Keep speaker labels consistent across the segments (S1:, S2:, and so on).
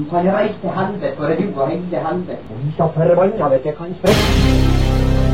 S1: Du kan reise til helvete og du og reise til helvete. Vi skal forbanna hvis jeg kan sprekke.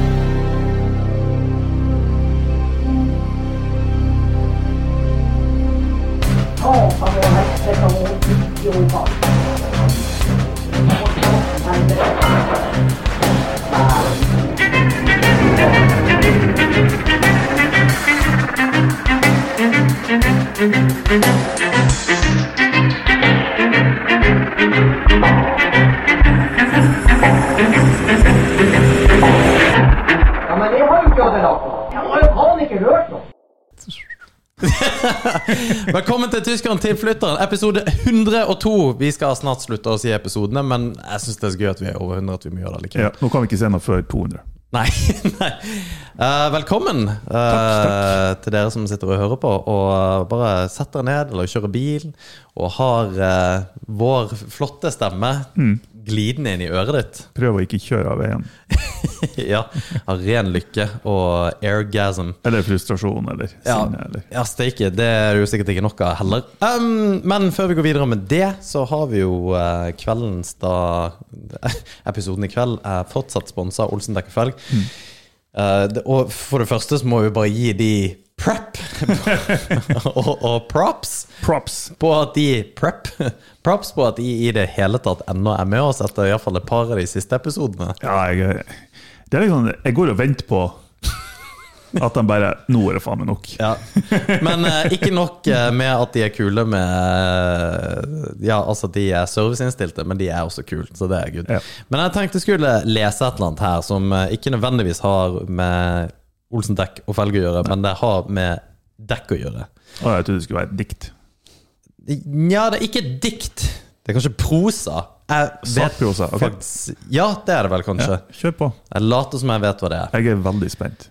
S1: Ja, men det har jo ikke Adela på. Jeg har jo faen ikke hørt noe.
S2: Velkommen til Tyskeren tilflytteren, episode 102. Vi skal snart slutte å si episodene, men jeg syns det er så gøy at vi er over 100. At vi må gjøre det likevel.
S3: Ja, nå kan vi ikke se noe før 200.
S2: Nei, nei. Eh, velkommen eh, til dere som sitter og hører på. Og eh, bare sett dere ned eller kjører bil og har eh, vår flotte stemme glidende inn i øret ditt.
S3: Prøv å ikke kjøre av veien.
S2: ja, Har ren lykke og airgasm.
S3: Eller frustrasjon, eller
S2: Ja,
S3: sinne, eller
S2: ja steike. Det er det jo sikkert ikke nok av heller. Ehm, men før vi går videre med det, så har vi jo eh, kveldens da Episoden i kveld er fortsatt sponsa av Olsen Dekkefelg. Eh, det- og for det første så må vi bare gi de prep og, og props
S3: props.
S2: på at de prep, props på at de i det hele tatt ennå er med oss etter iallfall et par av de siste episodene.
S3: Ja, jeg, det er liksom, jeg går og venter på at de bare Nå er det faen meg nok.
S2: Ja. Men eh, ikke nok eh, med at de er kule med eh, Ja, altså de er serviceinnstilte, men de er også kule, så det er good.
S3: Ja.
S2: Men jeg tenkte jeg skulle lese et eller annet her som eh, ikke nødvendigvis har med Olsen dekk og felg å gjøre, men det har med dekk å gjøre.
S3: Å, jeg trodde det skulle være et dikt.
S2: Nja, det er ikke et dikt. Det er kanskje prosa. Jeg vet
S3: Sakprosa, ok.
S2: faktisk Ja, det er det vel kanskje.
S3: Ja, kjør på.
S2: Jeg later som jeg vet hva det er.
S3: Jeg er veldig spent.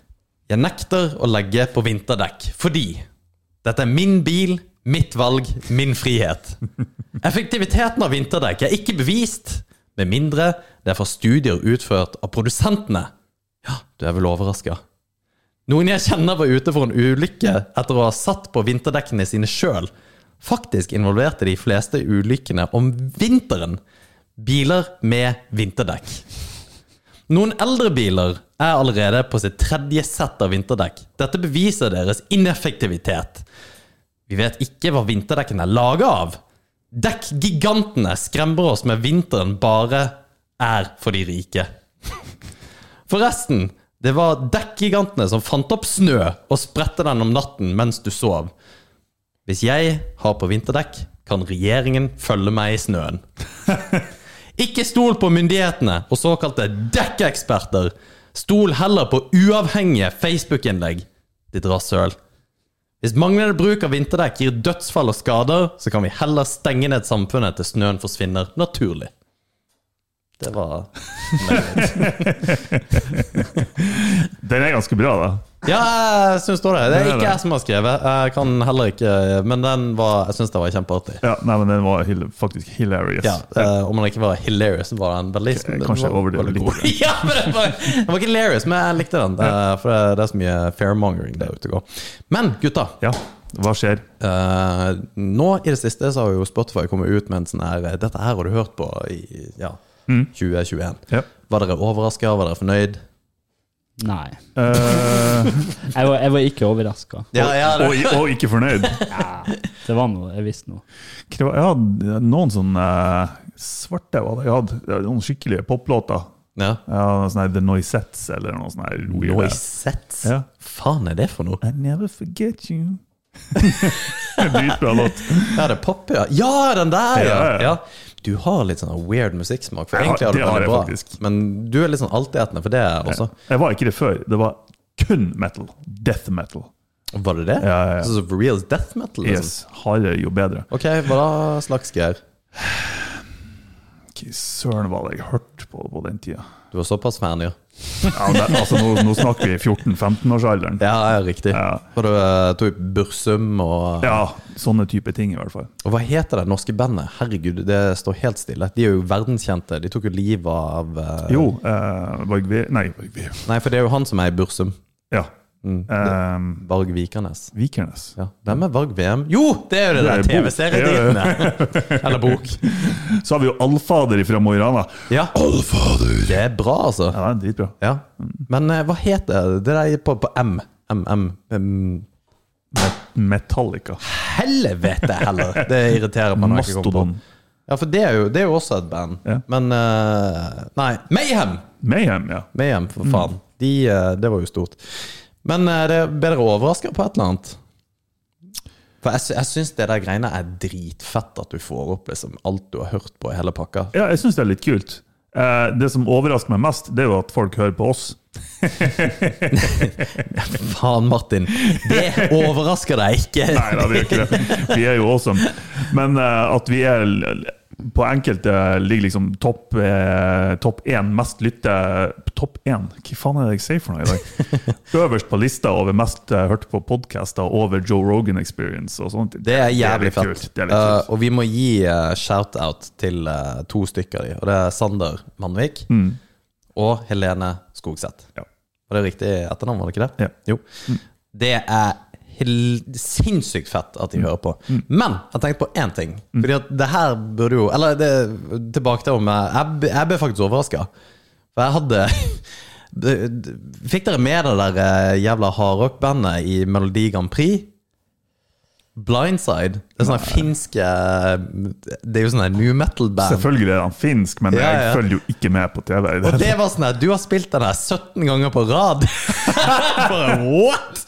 S2: Jeg nekter å legge på vinterdekk fordi dette er min bil, mitt valg, min frihet. Effektiviteten av vinterdekk er ikke bevist, med mindre det er fra studier utført av produsentene. Ja, du er vel overraska. Noen jeg kjenner var ute for en ulykke etter å ha satt på vinterdekkene sine sjøl. Faktisk involverte de fleste ulykkene om vinteren biler med vinterdekk. Noen eldre biler er allerede på sitt tredje sett av vinterdekk. Dette beviser deres ineffektivitet. Vi vet ikke hva vinterdekken er laga av. Dekkgigantene skremmer oss med vinteren bare er for de rike. Forresten, det var dekkgigantene som fant opp snø og spredte den om natten mens du sov. Hvis jeg har på vinterdekk, kan regjeringen følge meg i snøen. Ikke stol på myndighetene og såkalte dekkeksperter. Stol heller på uavhengige Facebook-innlegg. De drar søl. Hvis manglende bruk av vinterdekk gir dødsfall og skader, så kan vi heller stenge ned samfunnet til snøen forsvinner naturlig. Det var
S3: Den er ganske bra, da.
S2: Ja, jeg syns det. Det er ikke jeg som har skrevet. Jeg kan heller ikke Men den var, jeg syns den var kjempeartig.
S3: Ja, nei, men Den var hil- faktisk hilarious.
S2: Ja, eh, Om den ikke var hilarious, så var den veldig
S3: Kanskje jeg overdriver
S2: veldig
S3: litt.
S2: god. ja, men den var, den var ikke hilarious, men jeg likte den. eh, For det, det er så mye fairmongering der ute og går. Men gutta,
S3: Ja, Hva skjer?
S2: eh, nå i det siste så har jo Spotify kommet ut med en sånn her eh, Dette her har du hørt på i ja, 2021.
S3: Mm. Ja.
S2: Var dere overraska? Var dere fornøyd?
S4: Nei.
S3: Eh,
S4: Jeg var, jeg var ikke overraska.
S2: Ja, ja, det-
S3: og, og ikke fornøyd?
S4: Det var noe, jeg visste noe.
S3: Hva- Jeg hadde noen sånne eh, svarte var det jeg hadde. Det var Noen skikkelige poplåter.
S2: ja.
S3: Ja, sånn her The Noisettes eller noe sånt. her weird-
S2: Noisette?
S3: Ja.
S2: Faen er det for noe?
S3: I never forget you. Dritbra låt.
S2: Ja, det er pop, ja. Ja, den der, ja!
S3: Ja, ja.
S2: ja. Du har litt sånn weird musikksmak. For
S3: Ja,
S2: egentlig har du
S3: det har
S2: veldig
S3: jeg
S2: bra,
S3: faktisk.
S2: men du er litt sånn altetende for det også.
S3: Jeg var ikke det før. Det var kun metal. Death metal.
S2: Var det det?
S3: Ja, ja, ja.
S2: Så, så for real death metal? Liksom.
S3: Yes, Hardere jo bedre.
S2: Ok, hva da slags greier?
S3: Hva søren var det jeg hørte på på den tida?
S2: Du var såpass fan, ja?
S3: Ja, men det, altså, nå, nå snakker vi 14-15-årsalderen.
S2: Ja, ja riktig.
S3: Ja.
S2: For du eh, tok Bursum og
S3: Ja, sånne type ting i hvert fall.
S2: Og hva heter det norske bandet? Herregud, det står helt stille. De er jo verdenskjente. De tok jo livet av eh,
S3: Jo, eh, Varg Ve... Nei, Varg Ve...
S2: Nei, for det er jo han som er i Bursum.
S3: Ja. Ehm,
S2: Varg Vikernes.
S3: Vikernes.
S2: Ja. Hvem er Varg VM? Jo, det er jo det,
S3: Det er
S2: der
S3: bok.
S2: TV-seriedritene! Eller bok.
S3: Så har vi jo Allfader fra Mo i Rana.
S2: Ja. Det er bra, altså.
S3: Ja, det er dritbra.
S2: Ja. Men eh, hva heter det der på, på M? M, M, M.
S3: Metallica.
S2: Helvete heller! Det irriterer meg. når jeg ikke kommer på.
S3: Mastodon.
S2: Ja, for det er jo, det er jo også et band.
S3: Ja.
S2: Men eh, Nei, Mayhem!
S3: Mayhem, ja.
S2: Mayhem, for
S3: Mm.
S2: faen. De, eh, det var jo stort. Men eh, det er bedre overraska på et eller annet. For jeg, sy- jeg syns det der greiene er dritfett at du får opp liksom alt du har hørt på i hele pakka.
S3: Ja, jeg syns det er litt kult. Eh, det som overrasker meg mest, det er jo at folk hører på oss.
S2: Faen, Martin. Det overrasker deg ikke.
S3: Nei da, det gjør ikke det. Vi er jo awesome. Men eh, at vi er l- l- på enkelte ligger liksom topp eh, topp én mest lytte Topp én? Hva faen er det jeg sier for noe i dag? Øverst på lista over mest eh, hørt på podkaster over Joe Rogan Experience og sånt.
S2: Det er jævlig
S3: litt
S2: fett.
S3: kult. Det er litt kult.
S2: Eh, og vi må gi eh, shout-out til eh, to stykker av de, og det er Sander Manvik
S3: Mm.
S2: og Helene Skogseth.
S3: Ja.
S2: Var det riktig etternavn, var det ikke det?
S3: Ja. Mm.
S2: Jo. Det er hel- sinnssykt fett at de
S3: Mm.
S2: hører på. Men jeg tenkte på én ting. Fordi at det her burde jo Eller det, tilbake til om jeg, jeg ble- jeg ble faktisk overraska. For jeg hadde d- d- Fikk dere med det der eh, jævla hardrock-bandet i Melodi Grand Prix? Blindside. Det er sånne finske eh, Det er jo sånne new metal-band.
S3: Selvfølgelig er han finsk, men
S2: Ja, ja.
S3: jeg følger jo ikke med på TV. i det
S2: Og
S3: hele
S2: det var sånn at du har spilt den her 17 ganger på rad. Bare what?!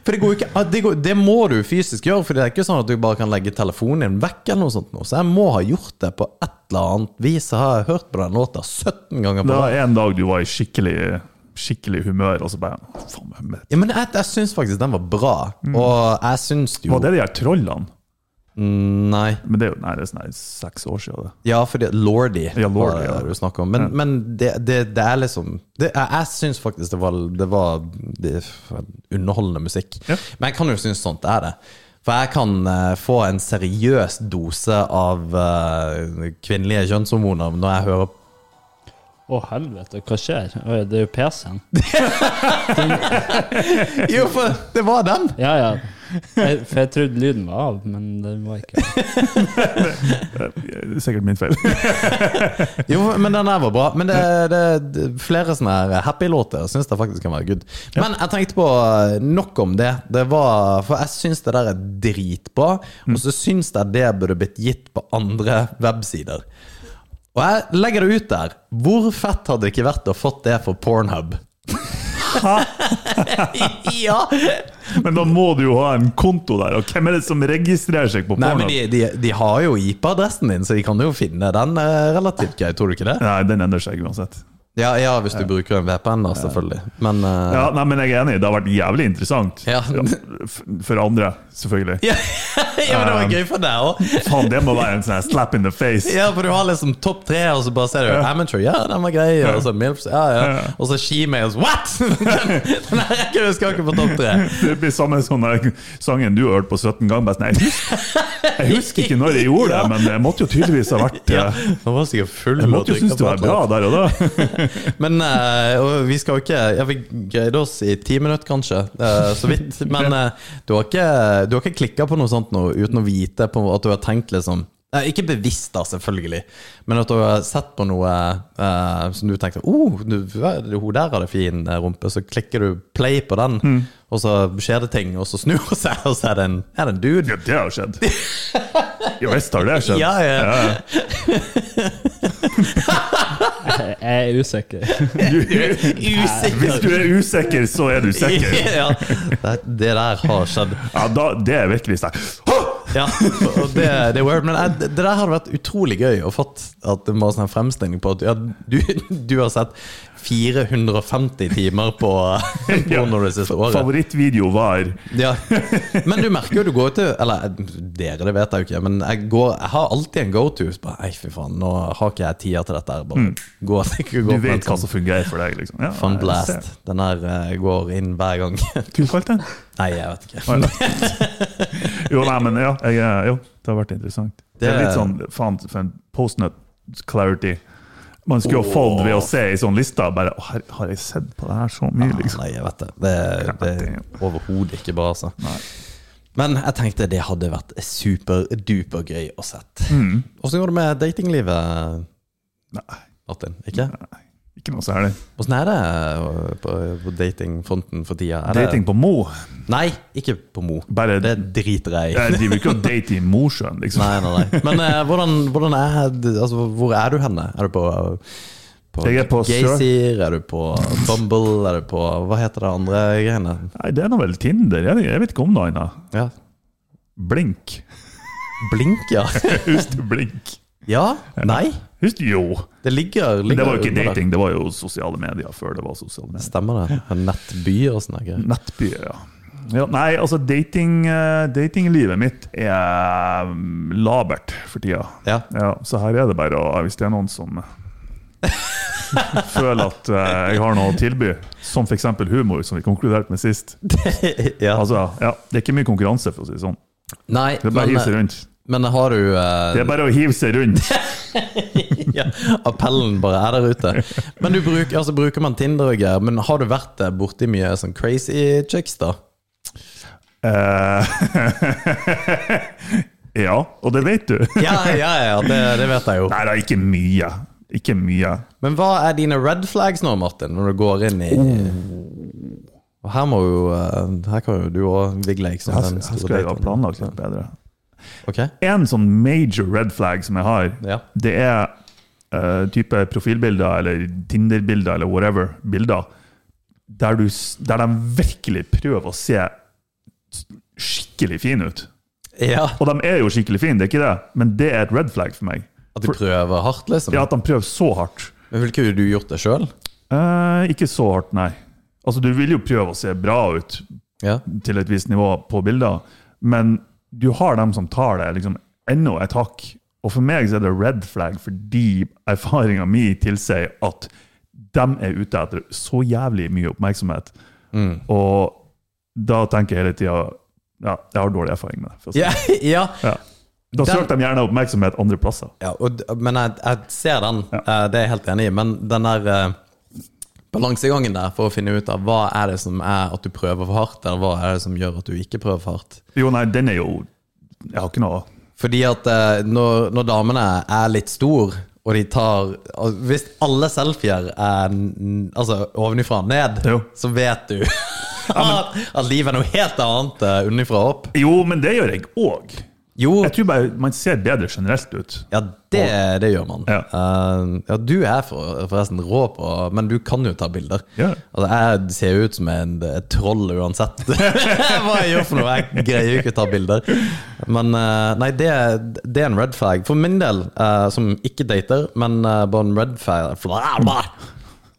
S2: For det går jo ikke ah, det, går, det må du fysisk gjøre, for det er ikke sånn at du bare kan legge telefonen din vekk eller noe sånt. nå. Så jeg må ha gjort det på et eller annet vis. Jeg har hørt på den låta 17 ganger
S3: Det
S2: på
S3: var
S2: rad.
S3: en dag du var i skikkelig, skikkelig humør, og så bare faen, men
S2: Ja, men jeg, jeg syns faktisk den var bra, og jeg syns jo
S3: Var Mm. det de her trollene?
S2: Nei.
S3: Men det er jo nei, det er sånn her seks år siden. Det.
S2: Ja, for det, Lordy
S3: Ja, Lordi,
S2: var det
S3: ja.
S2: du snakker om. Men, men det, det, det er liksom det, Jeg, jeg syns faktisk det var, det var det, underholdende musikk.
S3: Ja.
S2: Men jeg kan jo synes sånt er det. For jeg kan eh, få en seriøs dose av eh, kvinnelige kjønnshormoner når jeg hører
S4: Å, helvete, hva skjer? Oi, det er jo PC-en.
S2: Jo, for det var den!
S4: Ja, ja. Jeg, for jeg trodde lyden var av, men den var ikke
S3: Det er sikkert min feil.
S2: Jo, men den her var bra. Men det, det, det flere sånne her happy-låter syns jeg faktisk kan være good. Men jeg tenkte på eh, nok om det. det var, for jeg syns det der er dritbra, og så syns jeg det burde blitt gitt på andre websider. Og jeg legger det ut der. Hvor fett hadde det ikke vært å fått det for Pornhub? ja!
S3: Men da må du jo ha en konto der, og hvem er det som registrerer seg på
S2: Nei,
S3: porno?
S2: men de, de, de har jo IP-adressen din, så de kan jo finne den eh, relativt greit, tror du ikke det?
S3: Nei, den endrer seg uansett.
S2: Ja, ja hvis du bruker en VPN, da, selvfølgelig. Men eh,
S3: Ja, nei, men jeg er enig, det har vært jævlig interessant.
S2: Ja.
S3: f- For andre, selvfølgelig.
S2: Ja, ja men det
S3: Um.
S2: var gøy for deg òg.
S3: Faen, det må være en sånn her slap in the face.
S2: Ja, for du har liksom topp tre, og så bare ser du Amateur, ja, den var grei. Og så Milfs, ja, ja. Og så Shemales, what?! Den her rekker du skal ikke på topp tre.
S3: Det blir samme sånn der sangen du hørte på 17 ganger. Bare, sånn, nei, jeg, husker, jeg husker ikke når jeg gjorde det, men det måtte jo tydeligvis ha vært
S2: Ja,
S3: eh,
S2: Han var sikkert full.
S3: Jeg
S2: og
S3: måtte jo
S2: trykket
S3: synes det
S2: på
S3: var
S2: et
S3: bra
S2: eller
S3: der og da.
S2: annet. Men eh, og vi skal jo ikke Ja, vi greide oss i ti minutter, kanskje. eh, så vidt. Men eh, du har ikke, du har ikke klikka på noe sånt nå uten å vite på at du har tenkt liksom eh, ikke bevisst, da, selvfølgelig, men at du har sett på noe eh, som du tenkte oh, du, Hun der hadde fin eh, rumpe, så klikker du play på den, og så skjer det ting, og så snur hun seg, og så er det en, er det en dude.
S3: Ja, det har jo skjedd. Jo visst har det skjedd.
S2: Ja, ja.
S4: Jeg jeg er usikker.
S3: Du, hvis
S2: Usikker.
S3: du er usikker, så er du sikker.
S2: ja, det, det der har skjedd.
S3: Ja, da, det er virkelig sterkt. Hå!
S2: Ja, og det, det er weird, men jeg, det der hadde vært utrolig gøy å fått at det var sånn en fremstilling på at ja, du, du har sett 450 timer på porno det siste året.
S3: Favorittvideo var
S2: Ja. Men du merker jo du går til Eller dere, det vet jeg jo ikke, men jeg, går, jeg har alltid en go-to. Så bare, Nei, fy faen, nå har ikke jeg tida til dette her. Bare gå, gå
S3: Mm. Du
S2: på en
S3: vet hva
S2: sånn
S3: som fungerer for deg, liksom. Ja,
S2: Fun
S3: jeg ser.
S2: blast. Den her eh, går inn hver gang.
S3: Hva kalte den?
S2: Nei, jeg vet ikke.
S3: Jo, nei, men ja, jeg, eh, er- jo, det har vært interessant. Det er
S2: Det-
S3: litt sånn faen for en postnut clarity. man skulle jo fått ved å se i sånn lista. Bare, «Å, her, Har jeg sett på det her så mye,
S2: Ah,
S3: liksom?
S2: Nei, jeg vet det. Det, det er overhodet ikke bra, altså. Men jeg tenkte det hadde vært superduper gøy å sett. Åssen går det med datinglivet,
S3: Mm. Nei,
S2: Martin? Ikke?
S3: ikke noe særlig.
S2: Åssen er det øh, på, på datingfronten for tida? Er det-
S3: Dating på Mo
S2: Nei, ikke på Mo.
S3: Bare
S2: Det driter jeg i.
S3: Jeg driver ikke og dater i Mosjøen, liksom.
S2: Nei, nei, nei. Men eh, hvordan, hvordan er altså, Hvor er du henne? Er du på, på
S3: Jeg er på
S2: Gaysir? Er du på Bumble? Er du på Hva heter det andre greiene?
S3: Nei, det er nå vel Tinder. Jeg, jeg vet ikke om noe annet.
S2: Ja.
S3: Blink.
S2: Blink, ja.
S3: Husk du blink?
S2: Ja? Nei?
S3: Husk jo.
S2: Det ligger,
S3: Men
S2: ligger
S3: det var jo ikke
S2: under der.
S3: dating, det var jo sosiale medier før det var sosiale medier.
S2: Stemmer det. En Nettby og sånne greier.
S3: Nettby, ja. ja. Nei, altså dating, eh, datinglivet mitt er mm, labert for tida.
S2: Ja.
S3: Ja, så her er det bare å Hvis det er noen som føler at eh, jeg har noe å tilby, som f.eks. humor, som vi konkluderte med sist
S2: ja.
S3: Altså, ja, Det er ikke mye konkurranse, for å si det sånn.
S2: Nei,
S3: Det er bare å hive seg
S2: men, eh,
S3: rundt.
S2: men har du eh,
S3: Det er bare å hive seg rundt.
S2: ja, Appellen bare er der ute. Men du bruker, altså, bruker man Tinder og greier, men har du vært eh, borti mye sånn crazy chicks, da?
S3: Eh, ja, og det vet du.
S2: Ja, ja, ja, det, det vet jeg jo.
S3: Nei da, ikke mye. Ikke mye.
S2: Men hva er dine red flags nå, Martin, når du går inn i
S3: Oh.
S2: Og her må jo eh, Her kan jo du òg vigle deg som
S3: Her,
S2: den
S3: her
S2: store
S3: skulle jeg ha
S2: dateren.
S3: planlagt litt bedre.
S2: Ok?
S3: En sånn major red flag som jeg har,
S2: Ja.
S3: det er eh, type profilbilder eller Tinder-bilder eller whatever bilder der, du, s- der de virkelig prøver å se s- skikkelig fin ut.
S2: Ja,
S3: Og de er jo skikkelig fine, det er ikke det, men det er et red flag for meg.
S2: At de prøver hardt, liksom?
S3: Ja, At de prøver så hardt.
S2: Men Ville ikke du gjort det sjøl?
S3: Eh, ikke så hardt, nei. Altså, Du vil jo prøve å se bra ut
S2: Ja.
S3: til et visst nivå på bilder, men du har dem som tar det liksom enda et hakk. Og for meg så er det red flag fordi erfaringa mi tilsier at de er ute etter så jævlig mye oppmerksomhet.
S2: Mm.
S3: Og da tenker jeg hele tida ja, jeg har dårlig erfaring med det. for å si
S2: Ja,
S3: det.
S2: ja.
S3: Ja. Da
S2: Den-
S3: søker de gjerne oppmerksomhet andre plasser.
S2: ja og, d- men jeg, jeg ser den, eh, det er jeg helt enig i. Men den der eh, balansegangen der for å finne ut av hva er det som er at du prøver for hardt, eller hva er det som gjør at du ikke prøver for hardt?
S3: Jo, nei, den er jo Jeg har ikke noe
S2: Fordi at eh, når, når damene er litt stor og de tar al- Hvis alle selfier er n- altså, ovenifra og ned,
S3: Jo.
S2: så vet du at, at livet er noe helt annet uh, unnifra og opp.
S3: Jo, men det gjør jeg òg.
S2: Jo,
S3: Jeg tror bare man ser bedre generelt ut.
S2: ja, det, det gjør man.
S3: Ja.
S2: Eh, ja, du er for, forresten rå på Men du kan jo ta bilder.
S3: Ja.
S2: Altså, jeg ser jo ut som en, et troll uansett hva jeg gjør for noe. Jeg greier jo ikke å ta bilder. Men eh, nei, det, det er en red flag. For min del, eh, som ikke dater, men eh, bare en red flag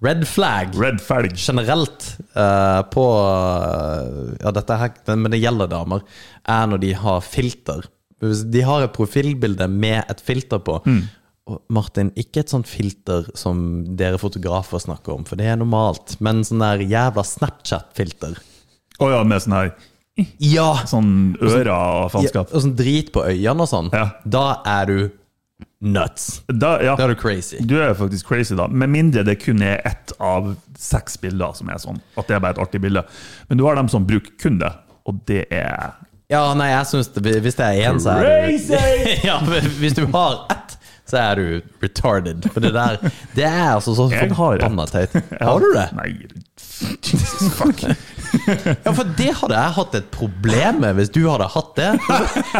S2: Red flag
S3: Red felg.
S2: generelt eh, på eh, Ja, dette her, det- men det gjelder damer, er når de har filter. Hvis de har et profilbilde med et filter på. Og Martin, ikke et sånt filter som dere fotografer snakker om, for det er normalt, men sånn der jævla Snapchat-filter.
S3: Å ja, med sånn her
S2: Ja!
S3: Sånn ører og
S2: ja!
S3: faenskap.
S2: Og sånn drit på øynene og sånn.
S3: Ja.
S2: Da er du nuts.
S3: Da, ja.
S2: Da er du crazy.
S3: Du er faktisk crazy, da. Med mindre det kun er ett av seks bilder som er sånn. At det er bare et artig bilde. Men du har dem som bruker kun det, og det er
S2: Ja, nei, jeg syns det, Hvis det er én, så er
S3: Crazy!
S2: du ja, men Hvis du har ett, så er du retarded. For det der Det er altså så
S3: Jeg har
S2: forbanna teit. Har du det?
S3: Nei, Jesus fuck.
S2: Ja, for det hadde jeg hatt et problem med hvis du hadde hatt det.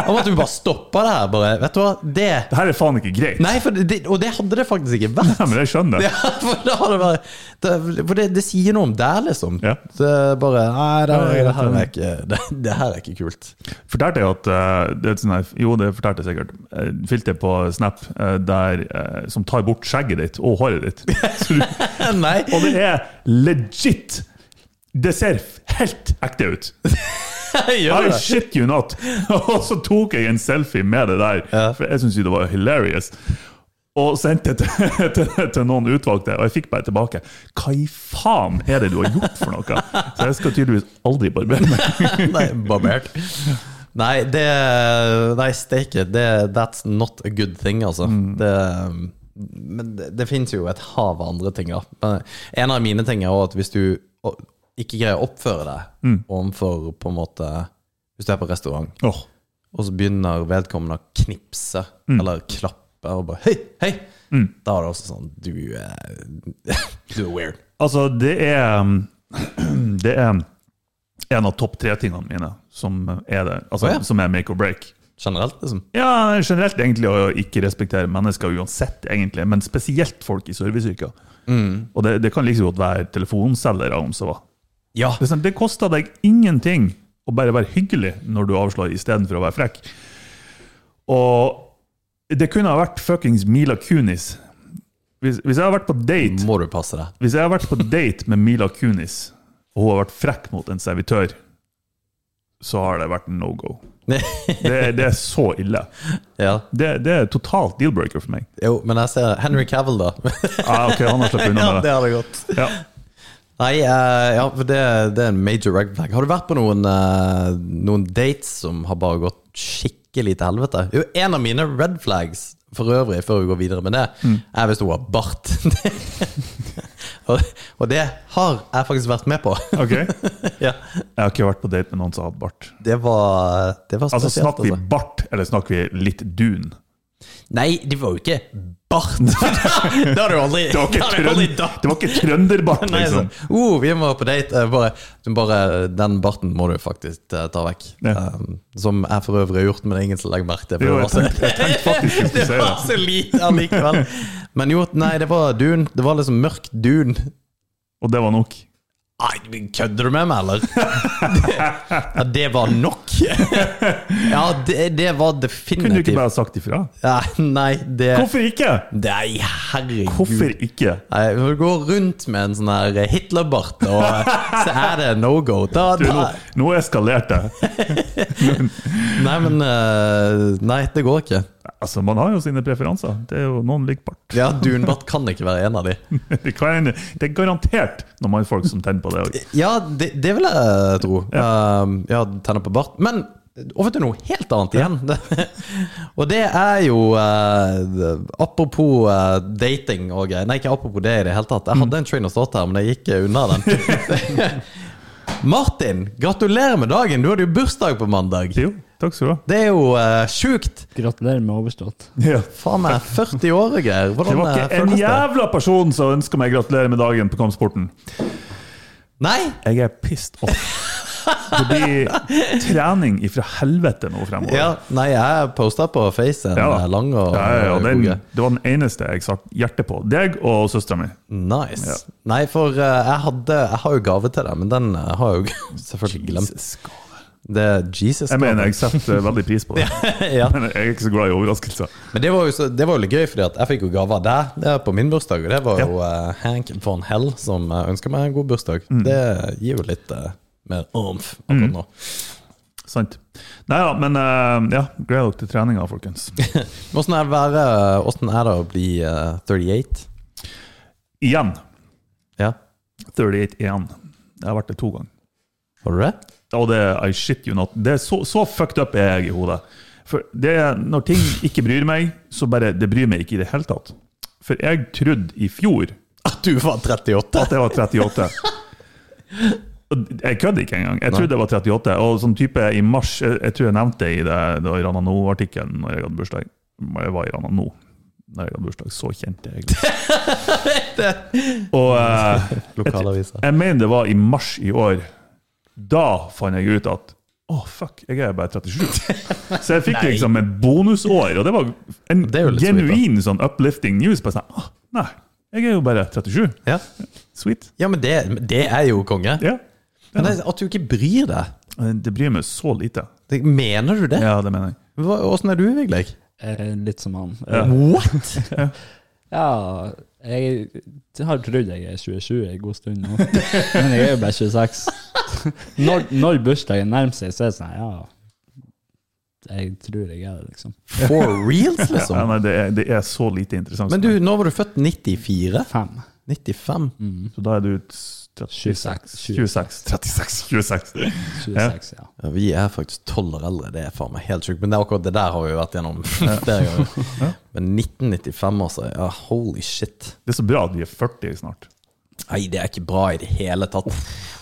S2: Om at du bare stoppa det her, bare. Vet du hva, det
S3: Det her er faen ikke greit.
S2: Nei, for det, og det hadde det faktisk ikke vært.
S3: Ja, men jeg skjønner.
S2: Ja, for da hadde det bare det, For det, det sier noe om deg, liksom.
S3: Ja.
S2: Det er bare Nei, det,
S3: Ja,
S2: det, her
S3: ja,
S2: er ikke, det, det her er ikke kult.
S3: Fortalte jeg at eh, det er et sånn her, Jo, det fortalte jeg sikkert. Uh, filter på Snap eh, der, eh, som tar bort skjegget ditt og håret ditt. Så du,
S2: Nei.
S3: og det er legit! Det ser helt ekte ut.
S2: Gjør
S3: I
S2: det.
S3: shit you not! Og så tok jeg en selfie med det der, for jeg syntes jo det var hilarious. Og sendte det til, til, til noen utvalgte, og jeg fikk bare tilbake Hva i faen er det du har gjort for noe?! Så jeg skal tydeligvis aldri barbere meg.
S2: Nei, barbert. Nei, det Nei, steike. det- That's not a good thing, altså. Det, Men det, det finnes jo et hav av andre ting. da. Men en av mine ting er også at hvis du å- ikke greier å oppføre deg overfor på en måte Hvis du er på restaurant,
S3: Åh,
S2: og så begynner vedkommende å knipse eller klappe og bare Hei, hei! Da er det også sånn Du er, du er weird.
S3: Altså, det er Det er en av topp tre tingene mine som er det.
S2: Å,
S3: Altså,
S2: ja.
S3: Som er make or break.
S2: Generelt, liksom.
S3: Ja, generelt egentlig å ikke respektere mennesker uansett, egentlig, men spesielt folk i serviceyrker. Og det, det kan liksom godt være telefonselgere om så hva.
S2: Ja.
S3: Det, er sånn, det koster deg ingenting å bare være hyggelig når du avslår, istedenfor å være frekk. Og det kunne ha vært fuckings Mila Kunis. Hvis, hvis jeg har vært på date
S2: Må du passe deg.
S3: Hvis jeg har vært på date med Mila Kunis, og hun har vært frekk mot en servitør, så har det vært no go. Det, er- det er så ille.
S2: ja.
S3: Det, det er totalt deal-breaker for meg.
S2: Jo, men jeg ser Henry Cavill, da.
S3: Ah, ok, han har sluppet
S2: ja,
S3: unna med
S2: det
S3: det.
S2: hadde gått.
S3: Ja.
S2: Nei, eh, ja, for det, det er en major red flag. Har du vært på noen, eh, noen dates som har bare gått skikkelig til helvete? Jo, en av mine red flags for øvrig, før vi går videre med det,
S3: Mm.
S2: er hvis hun har bart. og, og det har jeg faktisk vært med på.
S3: Ok, jeg
S2: ja.
S3: har ikke vært på date med noen som har hatt bart.
S2: Det var, det var
S3: Altså,
S2: spesielt.
S3: snakker vi bart, eller snakker vi litt dun?
S2: Nei, det var jo ikke bart. det har du aldri
S3: Det var
S2: det
S3: ikke,
S2: har du
S3: trønd,
S2: aldri
S3: det var ikke trønderbart,
S2: Nei,
S3: liksom.
S2: sånn, oh, vi må på date. eh, Bare, bare den barten må du faktisk eh, ta vekk.
S3: Ja.
S2: Um, som jeg for øvrig har gjort, men det er ingen som legger merke til. for
S3: Jo,
S2: det var
S3: jeg
S2: så-
S3: tenkte, jeg tenkte faktisk jeg skulle
S2: det
S3: si
S2: var
S3: det.
S2: så lite allikevel. Men jo, nei, det var dun. Det var liksom mørk dun.
S3: Og det var nok.
S2: Nei, men kødder du med meg, eller? Ja, det var nok. Ja, det, det var
S3: Kunne du ikke
S2: definitivt
S3: bare sagt ifra?
S2: ja, Nei, det
S3: Hvorfor ikke?
S2: Nei, herregud.
S3: Hvorfor ikke?
S2: Nei, Når du går rundt med en sånn her Hitlerbart, og eh, så er det no go. Da,
S3: Du, nå,
S2: da,
S3: nå eskalerte jeg.
S2: Nei, men eh, Nei, det går ikke.
S3: Altså, man har jo sine preferanser. Det er jo noen liker bart.
S2: Ja, Dunbart kan ikke være en av de.
S3: Det, kan, det er garantert noen mannfolk som tenner på det òg.
S2: Ja, det, det vil jeg tro. Um, ja, tenner på bart. Men over til noe helt annet igjen. og det er jo eh, Apropos eh, dating og greier. Nei, ikke apropos det i det hele tatt. Jeg
S3: Mm.
S2: hadde en train of thought her, men jeg gikk eh, unna den. Martin, gratulerer med dagen! Du hadde jo bursdag på mandag.
S3: Jo, takk skal du ha.
S2: Det er jo uh, sjukt!
S4: Gratulerer med overstått.
S3: Ja.
S2: Faen meg, 40 år og greier.
S3: Det
S2: Hvordan eh,
S3: var ikke en
S2: føles det?
S3: jævla person som ønska meg gratulerer med dagen på Kampsporten.
S2: Nei!
S3: Jeg er pissed off. Det blir trening ifra helvete nå fremover.
S2: Ja, nei, jeg posta på Face en
S3: Ja da.
S2: eh, lang og
S3: ja, ja, ja,
S2: og
S3: den,
S2: god.
S3: det var den eneste jeg satte hjertet på. Deg og søstera mi.
S2: Nice. Nei, for eh, jeg hadde Jeg har jo gave til deg, men den eh, har jeg jo selvfølgelig glemt. Det er Jesus
S3: Jeg mener, jeg setter veldig pris på det.
S2: ja.
S3: Men jeg er ikke så glad i overraskelser.
S2: Men det var jo så, det var jo litt gøy, fordi at jeg fikk jo gave av deg eh, på min bursdag. Og det var jo eh, Hank von Hell som eh, ønsker meg en god bursdag.
S3: Mm.
S2: Det gir jo litt eh, mer omf akkurat nå.
S3: Sant. Nei ja, men eh, ja, gleder dere til treninga, folkens.
S2: Men Åssen er, det å være- hvordan er det å bli eh, 38?
S3: Igjen.
S2: Ja,
S3: 38 igjen. Jeg har vært det to ganger.
S2: har du det?
S3: Og det I shit you not. Det er så, så fucked up er jeg i hodet. For det, er- når ting ikke bryr meg, så bare Det bryr meg ikke i det hele tatt. For jeg trodde i fjor
S2: At du var 38?
S3: at jeg var 38. Og Jeg kødder ikke engang. Jeg trodde jeg var 38. Og sånn type i mars Jeg, jeg tror jeg nevnte det i det, det var i Rana No-artikkelen når jeg hadde bursdag. Jeg var i Rana No når jeg hadde bursdag. Så kjente jeg det. Og eh,
S2: Lokalavisa.
S3: jeg mener det var i mars i år. Da fant jeg ut at å, fuck, jeg er bare 37. Så jeg fikk liksom et bonusår, og det var en
S2: Det er jo litt sweet, da.
S3: genuin sånn uplifting news. Bare sånn, «Åh, nei, jeg er jo bare 37.
S2: Ja.
S3: Sweet.
S2: ja, men det, det er jo konge.
S3: Ja.
S2: Men det, at du ikke bryr deg.
S3: Det bryr meg så lite.
S2: Det, mener du det?
S3: Ja, det mener jeg.
S2: Hva, åssen er du, Vigleik?
S4: Eh, Litt som han. Eh,
S2: What?!
S4: Ja, jeg har trodd jeg er 27 en god stund nå, men jeg er jo bare 26. Når, når bursdagen nærmer seg, så er det sånn ja, jeg tror jeg er det, liksom.
S2: For reals,
S3: Ja,
S2: liksom?
S3: nei, det, er, det er så lite interessant.
S2: Men du, nå var du født 94?
S4: Fem.
S3: Mm.
S2: 95?
S3: så da er du t-
S4: 26.
S3: 26. 36. 26.
S4: 26, ja.
S2: Ja, vi er faktisk tolv år eldre, det er faen meg helt sjukt. Men det er akkurat det der har vi jo vært gjennom flere ganger. Men 1995, altså. Ja, holy shit.
S3: Det er så bra at vi er 40 snart.
S2: Nei, det er ikke bra i det hele tatt.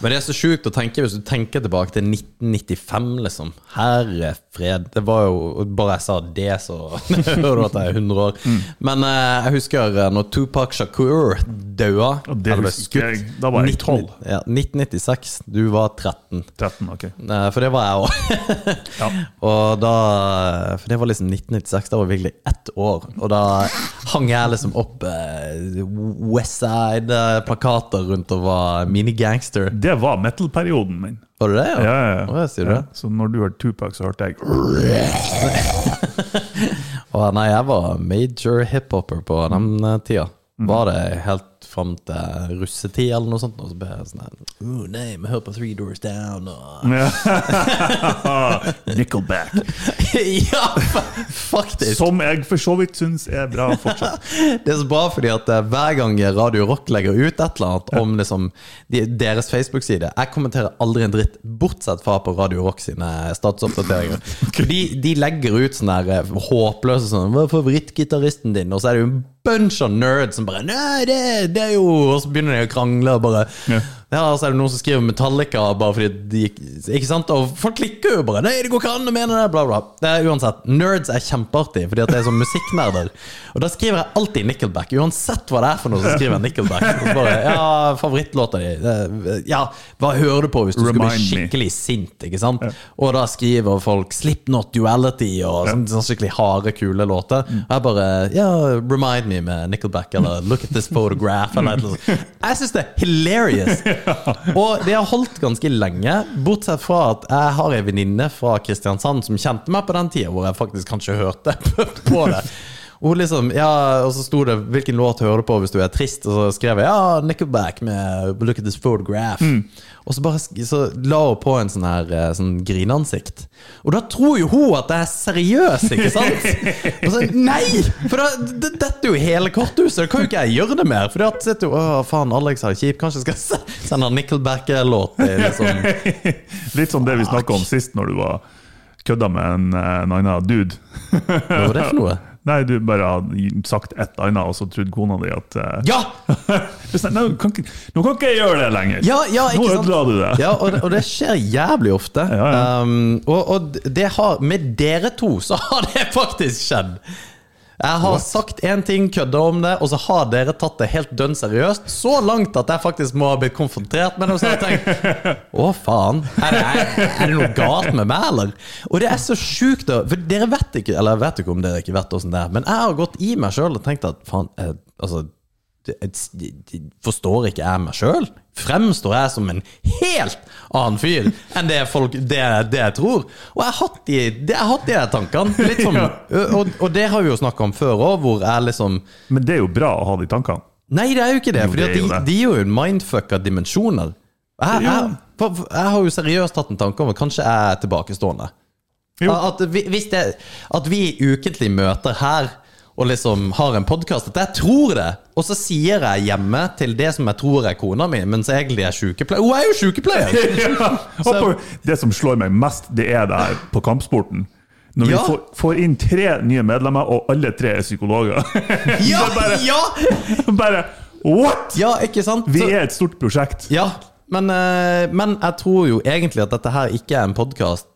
S2: Men det er så sjukt å tenke, hvis du tenker tilbake til 1995, liksom. Herre fred. Det var jo Bare jeg sa det, så hører du at jeg er 100 år.
S3: Mm.
S2: Men eh, jeg husker eh, når Tupac Shakur daua.
S3: Ja, det
S2: eller ble
S3: husker jeg.
S2: skutt.
S3: Da var jeg
S2: 19
S3: 12.
S2: Ja, 1996. Du var 13.
S3: 13, ok.
S2: Eh, For det var jeg òg.
S3: Ja.
S2: Og da For det var liksom 1996, da var jeg virkelig ett år. Og da hang jeg liksom opp eh, Westside-plakater rundt og var minigangster.
S3: Det var metal-perioden min.
S2: Var det det?
S3: Ja, ja, ja.
S2: Å, jeg sier
S3: Ja,
S2: det.
S3: Så når du hørte Tupac, så hørte jeg
S2: Og nei, jeg var major hiphoper på den eh, tida.
S3: Mm.
S2: Var det helt fram til russetid eller noe sånt? Og så ble jeg sånn her, Ooh, nei, vi hører på Three Doors Down og
S3: Nickelback.
S2: Ja, fa- faktisk!
S3: Som jeg for så vidt syns er bra fortsatt.
S2: Det er så bra fordi at eh, hver gang Radio Rock legger ut et eller annet om liksom de, deres Facebook-side Jeg kommenterer aldri en dritt, bortsett fra på Radio Rock sine statsoppdateringer. De, de legger ut sånne der, eh, håpløse sånn 'Hva er favorittgitaristen din?' Og så er det jo en bunch av nerds som bare 'Nei, det, det er jo Og så begynner de å krangle og bare
S3: Ja.
S2: ja, og så er det noen som skriver Metallica bare fordi de Ikke sant? Og folk klikker jo bare. Nei, det går ikke an å mene det, bla, bla. Det er uansett. Nerds er kjempeartig, fordi at det er sånn musikknerder. Og da skriver jeg alltid Nickelback. Uansett hva det er for noe, så skriver jeg Nickelback. Og så bare, ja, favorittlåta di. Det- Ja, hva hører du på hvis du skal bli
S3: Remind me.
S2: skikkelig sint, ikke sant? Og da skriver folk 'Slip Not Duality' og sånn, sånn skikkelig harde, kule låter. Og jeg bare Ja, 'Remind Me' med Nickelback, eller 'Look at this photograph', eller noe sånt. Jeg syns det er hilarious! Og det har holdt ganske lenge, bortsett fra at jeg har ei venninne fra Kristiansand som kjente meg på den tida, hvor jeg faktisk kanskje hørte på det. Og, hun liksom, ja, og så sto det 'Hvilken låt hører du på hvis du er trist?' Og så skrev jeg ja, 'Nickelback med 'Look at this photograph'. Og så, bare, sk- så la hun på en sånn her eh, sånn grineansikt. Og da tror jo hun at jeg er seriøs, ikke sant? Og så nei! For da det detter jo hele korthuset. Da kan jo ikke jeg gjøre det mer. For da sitter jo Å, faen, Alex har det kjipt. Kanskje jeg skal se- sende han Nickelback-låt til liksom
S3: Litt som det vi snakka om sist, når du var kødda med en, eh, en annen dude.
S2: Hva var det for noe?
S3: Nei, du bare hadde sagt et annet, og så trodde kona di at eh,
S2: Ja!
S3: Hvis jeg- Nei, nå, kan ikke, nå kan ikke jeg gjøre det lenger!
S2: Ja, ja, ikke
S3: nå
S2: sant?
S3: ødela du det!
S2: Ja, og det, og det skjer jævlig ofte.
S3: ja.
S2: Um, og og det har, med dere to så har det faktisk skjedd. Jeg har sagt én ting, kødda om det, og så har dere tatt det helt dønn seriøst. Så langt at jeg faktisk må ha blitt konfrontert med det. Og så har jeg tenkt Å, faen. Er det, er, er det noe galt med meg, eller? Og det er så sjukt, da. For dere vet ikke, eller jeg vet ikke om dere ikke vet åssen det er, men jeg har gått i meg sjøl og tenkt at faen, eh, altså det- et- det- Forstår ikke jeg meg sjøl? Fremstår jeg som en helt annen fyr enn det, folk, det, det jeg tror? Og jeg har hatt de, det- jeg har hatt de der tankene. Litt som, og, og det har vi jo snakka om før òg, hvor jeg liksom
S3: Men det er jo bra å ha de tankene.
S2: Nei, det er jo ikke det.
S3: Jo,
S2: Fordi
S3: det er jo
S2: at de,
S3: det.
S2: de er jo en mindfuck av dimensjoner. Jeg, jeg, for- for- jeg har jo seriøst hatt en tanke om at kanskje jeg er tilbakestående.
S3: Jo.
S2: At, vi, hvis det, at vi ukentlig møter her og liksom har en podkast, at jeg tror det, og så sier jeg hjemme til det som jeg tror er kona mi, mens jeg egentlig er sjukepleier. Hun er jo sjukepleier!
S3: Ja. Og på, det som slår meg mest, det er det her på kampsporten. Når vi
S2: Ja.
S3: får, får inn tre nye medlemmer, og alle tre er psykologer.
S2: Ja, ja,
S3: Bare what?!
S2: ja, ikke sant?
S3: Vi
S2: Så-
S3: er et stort prosjekt.
S2: Ja, men, eh, men jeg tror jo egentlig at dette her ikke er en podkast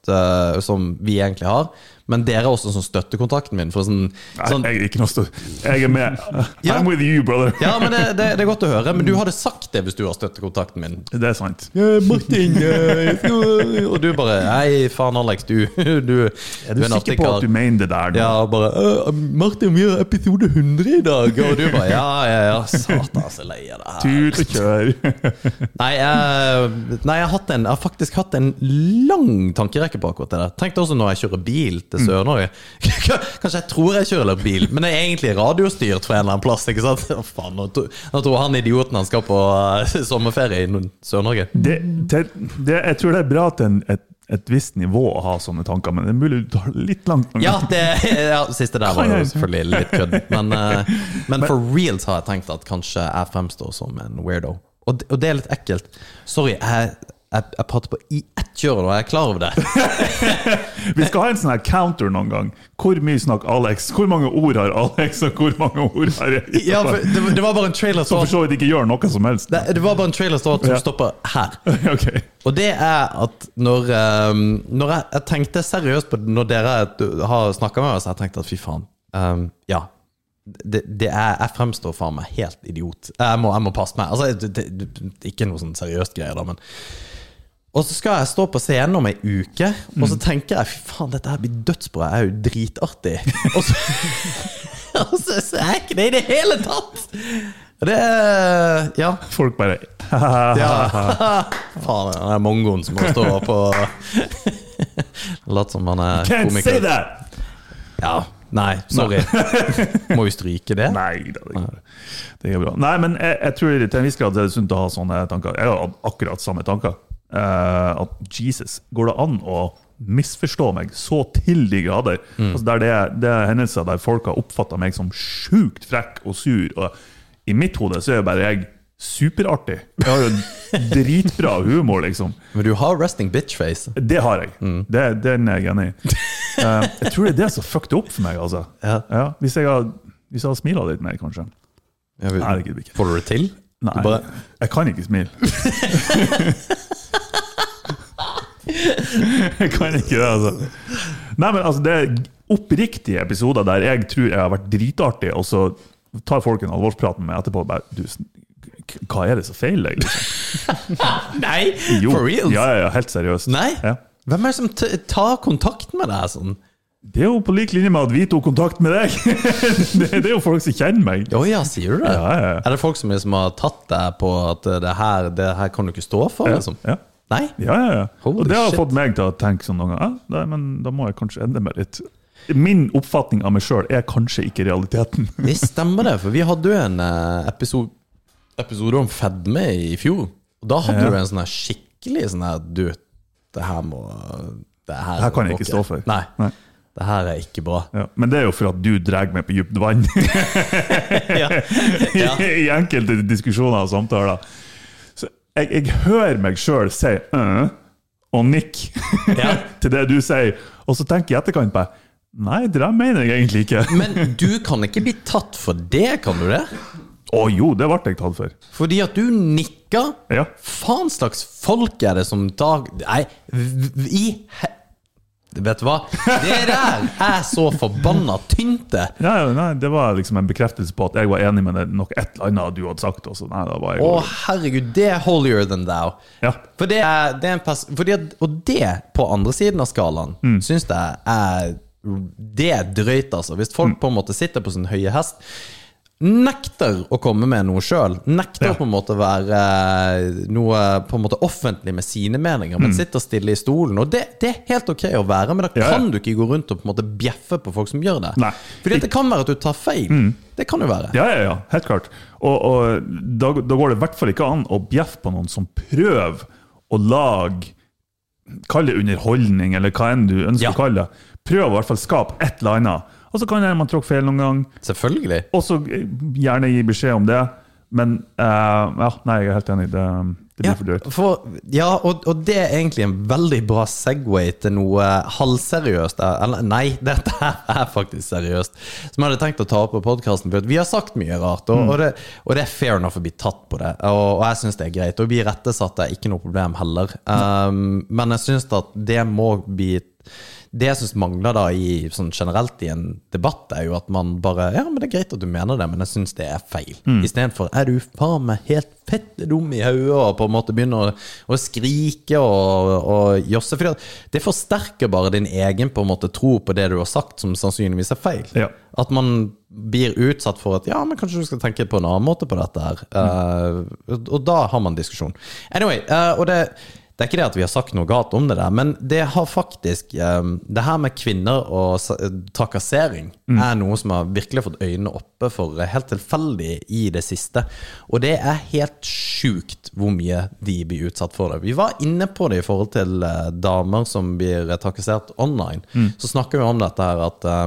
S2: som vi egentlig har, men dere er også som støttekontakten min. For sånn, sånn
S3: Nei, jeg, er ikke noe stå- jeg er med.
S2: Ja.
S3: I'm with you, brother.
S2: ja, men det, det, det er godt å høre, men du hadde sagt det hvis du var støttekontakten min.
S3: Det er sant.
S2: Martin,
S3: eh,
S2: Og du bare Nei, faen, Alex, du Du, en
S3: Er du sikker på
S2: artikkel-
S3: at du mener det der? nå?
S2: Ja, og bare «Øh, 'Martin, vi har episode 100 i dag.' Og du bare Ja, ja, ja. Satan, jeg er så lei av det her.
S3: Tut og kjør.
S2: Nei, jeg, nei jeg, har hatt en, jeg har faktisk hatt en lang tankerekke på akkurat det der. Tenk deg også når jeg kjører bil til Sør-Norge. Kanskje jeg tror jeg kjører bil, men det er egentlig radiostyrt fra en eller annen plass. ikke sant? Å, faen, nå, tro- nå tror han idioten han skal på eh, sommerferie i Nord- Sør-Norge.
S3: Det, det, det, jeg tror det er bra til en, et, et visst nivå å ha sånne tanker, men det er mulig du tar det litt langt. noen
S2: Ja,
S3: ganger.
S2: det ja, siste der var jo selvfølgelig litt kødd, men, eh, men for real så har jeg tenkt at kanskje jeg fremstår som en weirdo. Og, det- og det er litt ekkelt. Sorry, jeg, jeg, jeg prater på i ett kjør nå, jeg er klar over det.
S3: Vi skal ha en sånn her counter noen gang. Hvor mye snakker Alex? Hvor mange ord har Alex, og hvor mange ord har jeg?
S2: Ja, for det, var- det var bare en trailer
S3: Som
S2: som
S3: for så vidt ikke gjør noe som helst.
S2: det, det var bare en trailer som
S3: Ja.
S2: stoppa her.
S3: Ok.
S2: Og det er at når, ehm, når jeg, jeg tenkte seriøst på det når dere har snakka med meg, så har jeg tenkt at fy faen. ehm, ja. Det, det er, jeg fremstår faen meg helt idiot. Jeg må, jeg må passe meg. Altså, det, det, det- ikke noe sånn seriøst greier, da, men Og så skal jeg stå på scenen om ei uke, og så tenker jeg fy faen, dette her blir dødsbra. Jeg er jo dritartig. Og så, og så, så er jeg ikke det i det hele tatt! Det er Ja.
S3: Folk bare
S2: Ja. Faen, han er mongoen som må stå på Latt som han er
S3: Can't say
S2: komiker.
S3: that!
S2: Ja. Nei, sorry. Må vi stryke det?
S3: Nei, det er ikke det. Det er bra. Nei, men jeg, jeg tror til en viss grad det er sunt å ha sånne tanker. Jeg har hatt akkurat samme tanker. Eh, at Jesus, går det an å misforstå meg så til de grader? Altså, der det, er, det er hendelser der folk har oppfatta meg som sjukt frekk og sur. Og i mitt hode så er jo bare jeg superartig. Jeg har jo dritbra humor, liksom.
S2: Men du har resting bitch-face.
S3: Det har jeg. Det, den er jeg enig i. Eh, jeg tror det er det som fucket opp for meg. altså.
S2: Ja.
S3: hvis jeg har, hvis jeg har smila litt mer, kanskje.
S2: Jeg vil-
S3: Nei, det gidder vi ikke.
S2: Får du det til?
S3: Nei,
S2: Du bare,
S3: jeg kan ikke smile. jeg kan ikke det, altså. Nei, men altså, det er oppriktige episoder der jeg tror jeg har vært dritartig, og så tar folk en alvorsprat med meg etterpå og bare du, k- Hva er det som feiler deg? Liksom?
S2: Nei!
S3: Jo.
S2: For reals?
S3: Ja, ja, ja, helt seriøst.
S2: Nei?
S3: Ja.
S2: Hvem er det som t tar kontakt med deg sånn?
S3: Det er jo på lik linje med at vi tok kontakt med deg! det, det er jo folk som kjenner meg.
S2: Å ja, sier du det?
S3: Ja, ja, ja.
S2: Er det folk som liksom har tatt deg på at eh, det her, det her kan du ikke stå for?
S3: Ja,
S2: liksom?
S3: ja.
S2: Nei?
S3: Ja, ja, ja.
S2: Holy
S3: og det har
S2: shit.
S3: fått meg til å tenke sånn noen ganger. Ja, nei, men da må jeg kanskje endre meg litt. Min oppfatning av meg sjøl er kanskje ikke realiteten.
S2: Det stemmer det, for vi hadde jo en eh, episode, episode om fedme i fjor. Og da hadde
S3: Ja.
S2: du en sånn her skikkelig sånn her Du, det her må Det her,
S3: her kan jeg
S2: går
S3: ikke stå for.
S2: Nei.
S3: Nei.
S2: Det her er ikke bra.
S3: Ja. Men det er jo for at du drar meg på dypt vann
S2: Ja. Ja.
S3: i enkelte diskusjoner og samtaler. Så jeg, jeg hører meg sjøl si «øh» og nikk
S2: Ja.
S3: til det du sier, og så tenker jeg i etterkant på Nei, det der mener jeg egentlig ikke.
S2: Men du kan ikke bli tatt for det, kan du det?
S3: Å jo, det ble jeg tatt for.
S2: Fordi at du nikka.
S3: Ja.
S2: Faen slags folk er det som dag... Nei, v- v- i he... Vet du hva? Det der er så forbanna tynt, det.
S3: Ja, ja, nei, Det var liksom en bekreftelse på at jeg var enig med det, nok et eller annet du hadde sagt. Også. Nei, da var jeg
S2: Å, herregud, det er holier than thou.
S3: Ja.
S2: For det er, det er en pers fordi at, og det, på andre siden av skalaen,
S3: Mm.
S2: syns jeg er Det er drøyt, altså. Hvis
S3: Mm.
S2: folk på en måte sitter på sin høye hest, nekter å komme med noe sjøl, nekter
S3: Ja.
S2: på en måte å være eh, noe på en måte offentlig med sine meninger, men sitter stille i stolen. Og det, det er helt ok å være, men da
S3: Mm. Ja, ja.
S2: kan du ikke gå rundt og på en måte bjeffe på folk som gjør det.
S3: Nei. Mm.
S2: Fordi at det kan være at du tar feil. Det kan jo være.
S3: Ja, ja, ja, helt klart. Og, og da, da går det i hvert fall ikke an å bjeffe på noen som prøver å lage Kall det underholdning, eller hva enn du ønsker
S2: Ja.
S3: å kalle det. Prøv å i hvert fall skape et eller annet. Og så kan det hende man tråkke feil noen gang,
S2: Selvfølgelig.
S3: og så gjerne gi beskjed om det. Men eh, ja, nei, jeg er helt enig. Det, det blir for drøyt.
S2: for- ja, og, og det er egentlig en veldig bra Segway til noe halvseriøst. Eller nei, dette her er faktisk seriøst. Som jeg hadde tenkt å ta opp på podkasten. Vi har sagt mye rart,
S3: Mm.
S2: og, og, det, og det er fair enough å bli tatt på det. Og, og jeg syns det er greit. Og vi rettesatte er ikke noe problem heller. Um, men jeg syns at det må bli det jeg syns mangler da i, sånn generelt i en debatt, er jo at man bare Ja, men det er greit at du mener det, men jeg syns det er feil. Istedenfor er du faen meg helt fette dum i hodet og på en måte begynner å, å skrike og, og josse. For det forsterker bare din egen på en måte tro på det du har sagt, som sannsynligvis er feil.
S3: Ja.
S2: At man blir utsatt for at ja, men kanskje du skal tenke på en annen måte på dette her. Eh, og- og da har man diskusjon. Anyway, eh, og det, det er ikke det at vi har sagt noe galt om det der, men det har faktisk eh, Det her med kvinner og sa- trakassering er noe som har virkelig fått øynene oppe for eh, helt tilfeldig i det siste. Og det er helt sjukt hvor mye de blir utsatt for det. Vi var inne på det i forhold til eh, damer som blir eh, trakassert online. Så snakker vi om dette her at eh,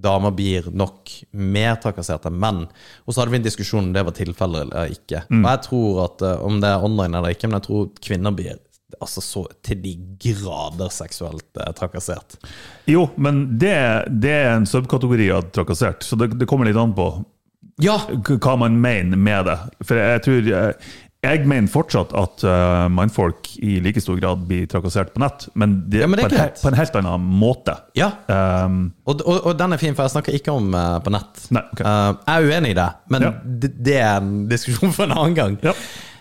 S2: damer blir nok mer trakassert enn menn. Og så hadde vi en diskusjon om det var tilfellet eller ikke. Og jeg tror at eh, om det er online eller ikke, men jeg tror kvinner blir altså så til de grader seksuelt eh, trakassert.
S3: Jo, men det, det er en subkategori av trakassert, så det, det kommer litt an på
S2: Ja!
S3: k- hva man mener med det. For jeg tror eh, Jeg mener fortsatt at eh, mannfolk i like stor grad blir trakassert på nett, men det,
S2: Ja, men det er
S3: på, en, he-
S2: greit.
S3: på en helt annen måte.
S2: ja.
S3: Um,
S2: Og, og, og den er fin, for jeg snakker ikke om eh, på nett.
S3: Nei, ok.
S2: Eh, jeg er uenig i det, men
S3: Ja.
S2: det, det er en diskusjon for en annen gang.
S3: Ja.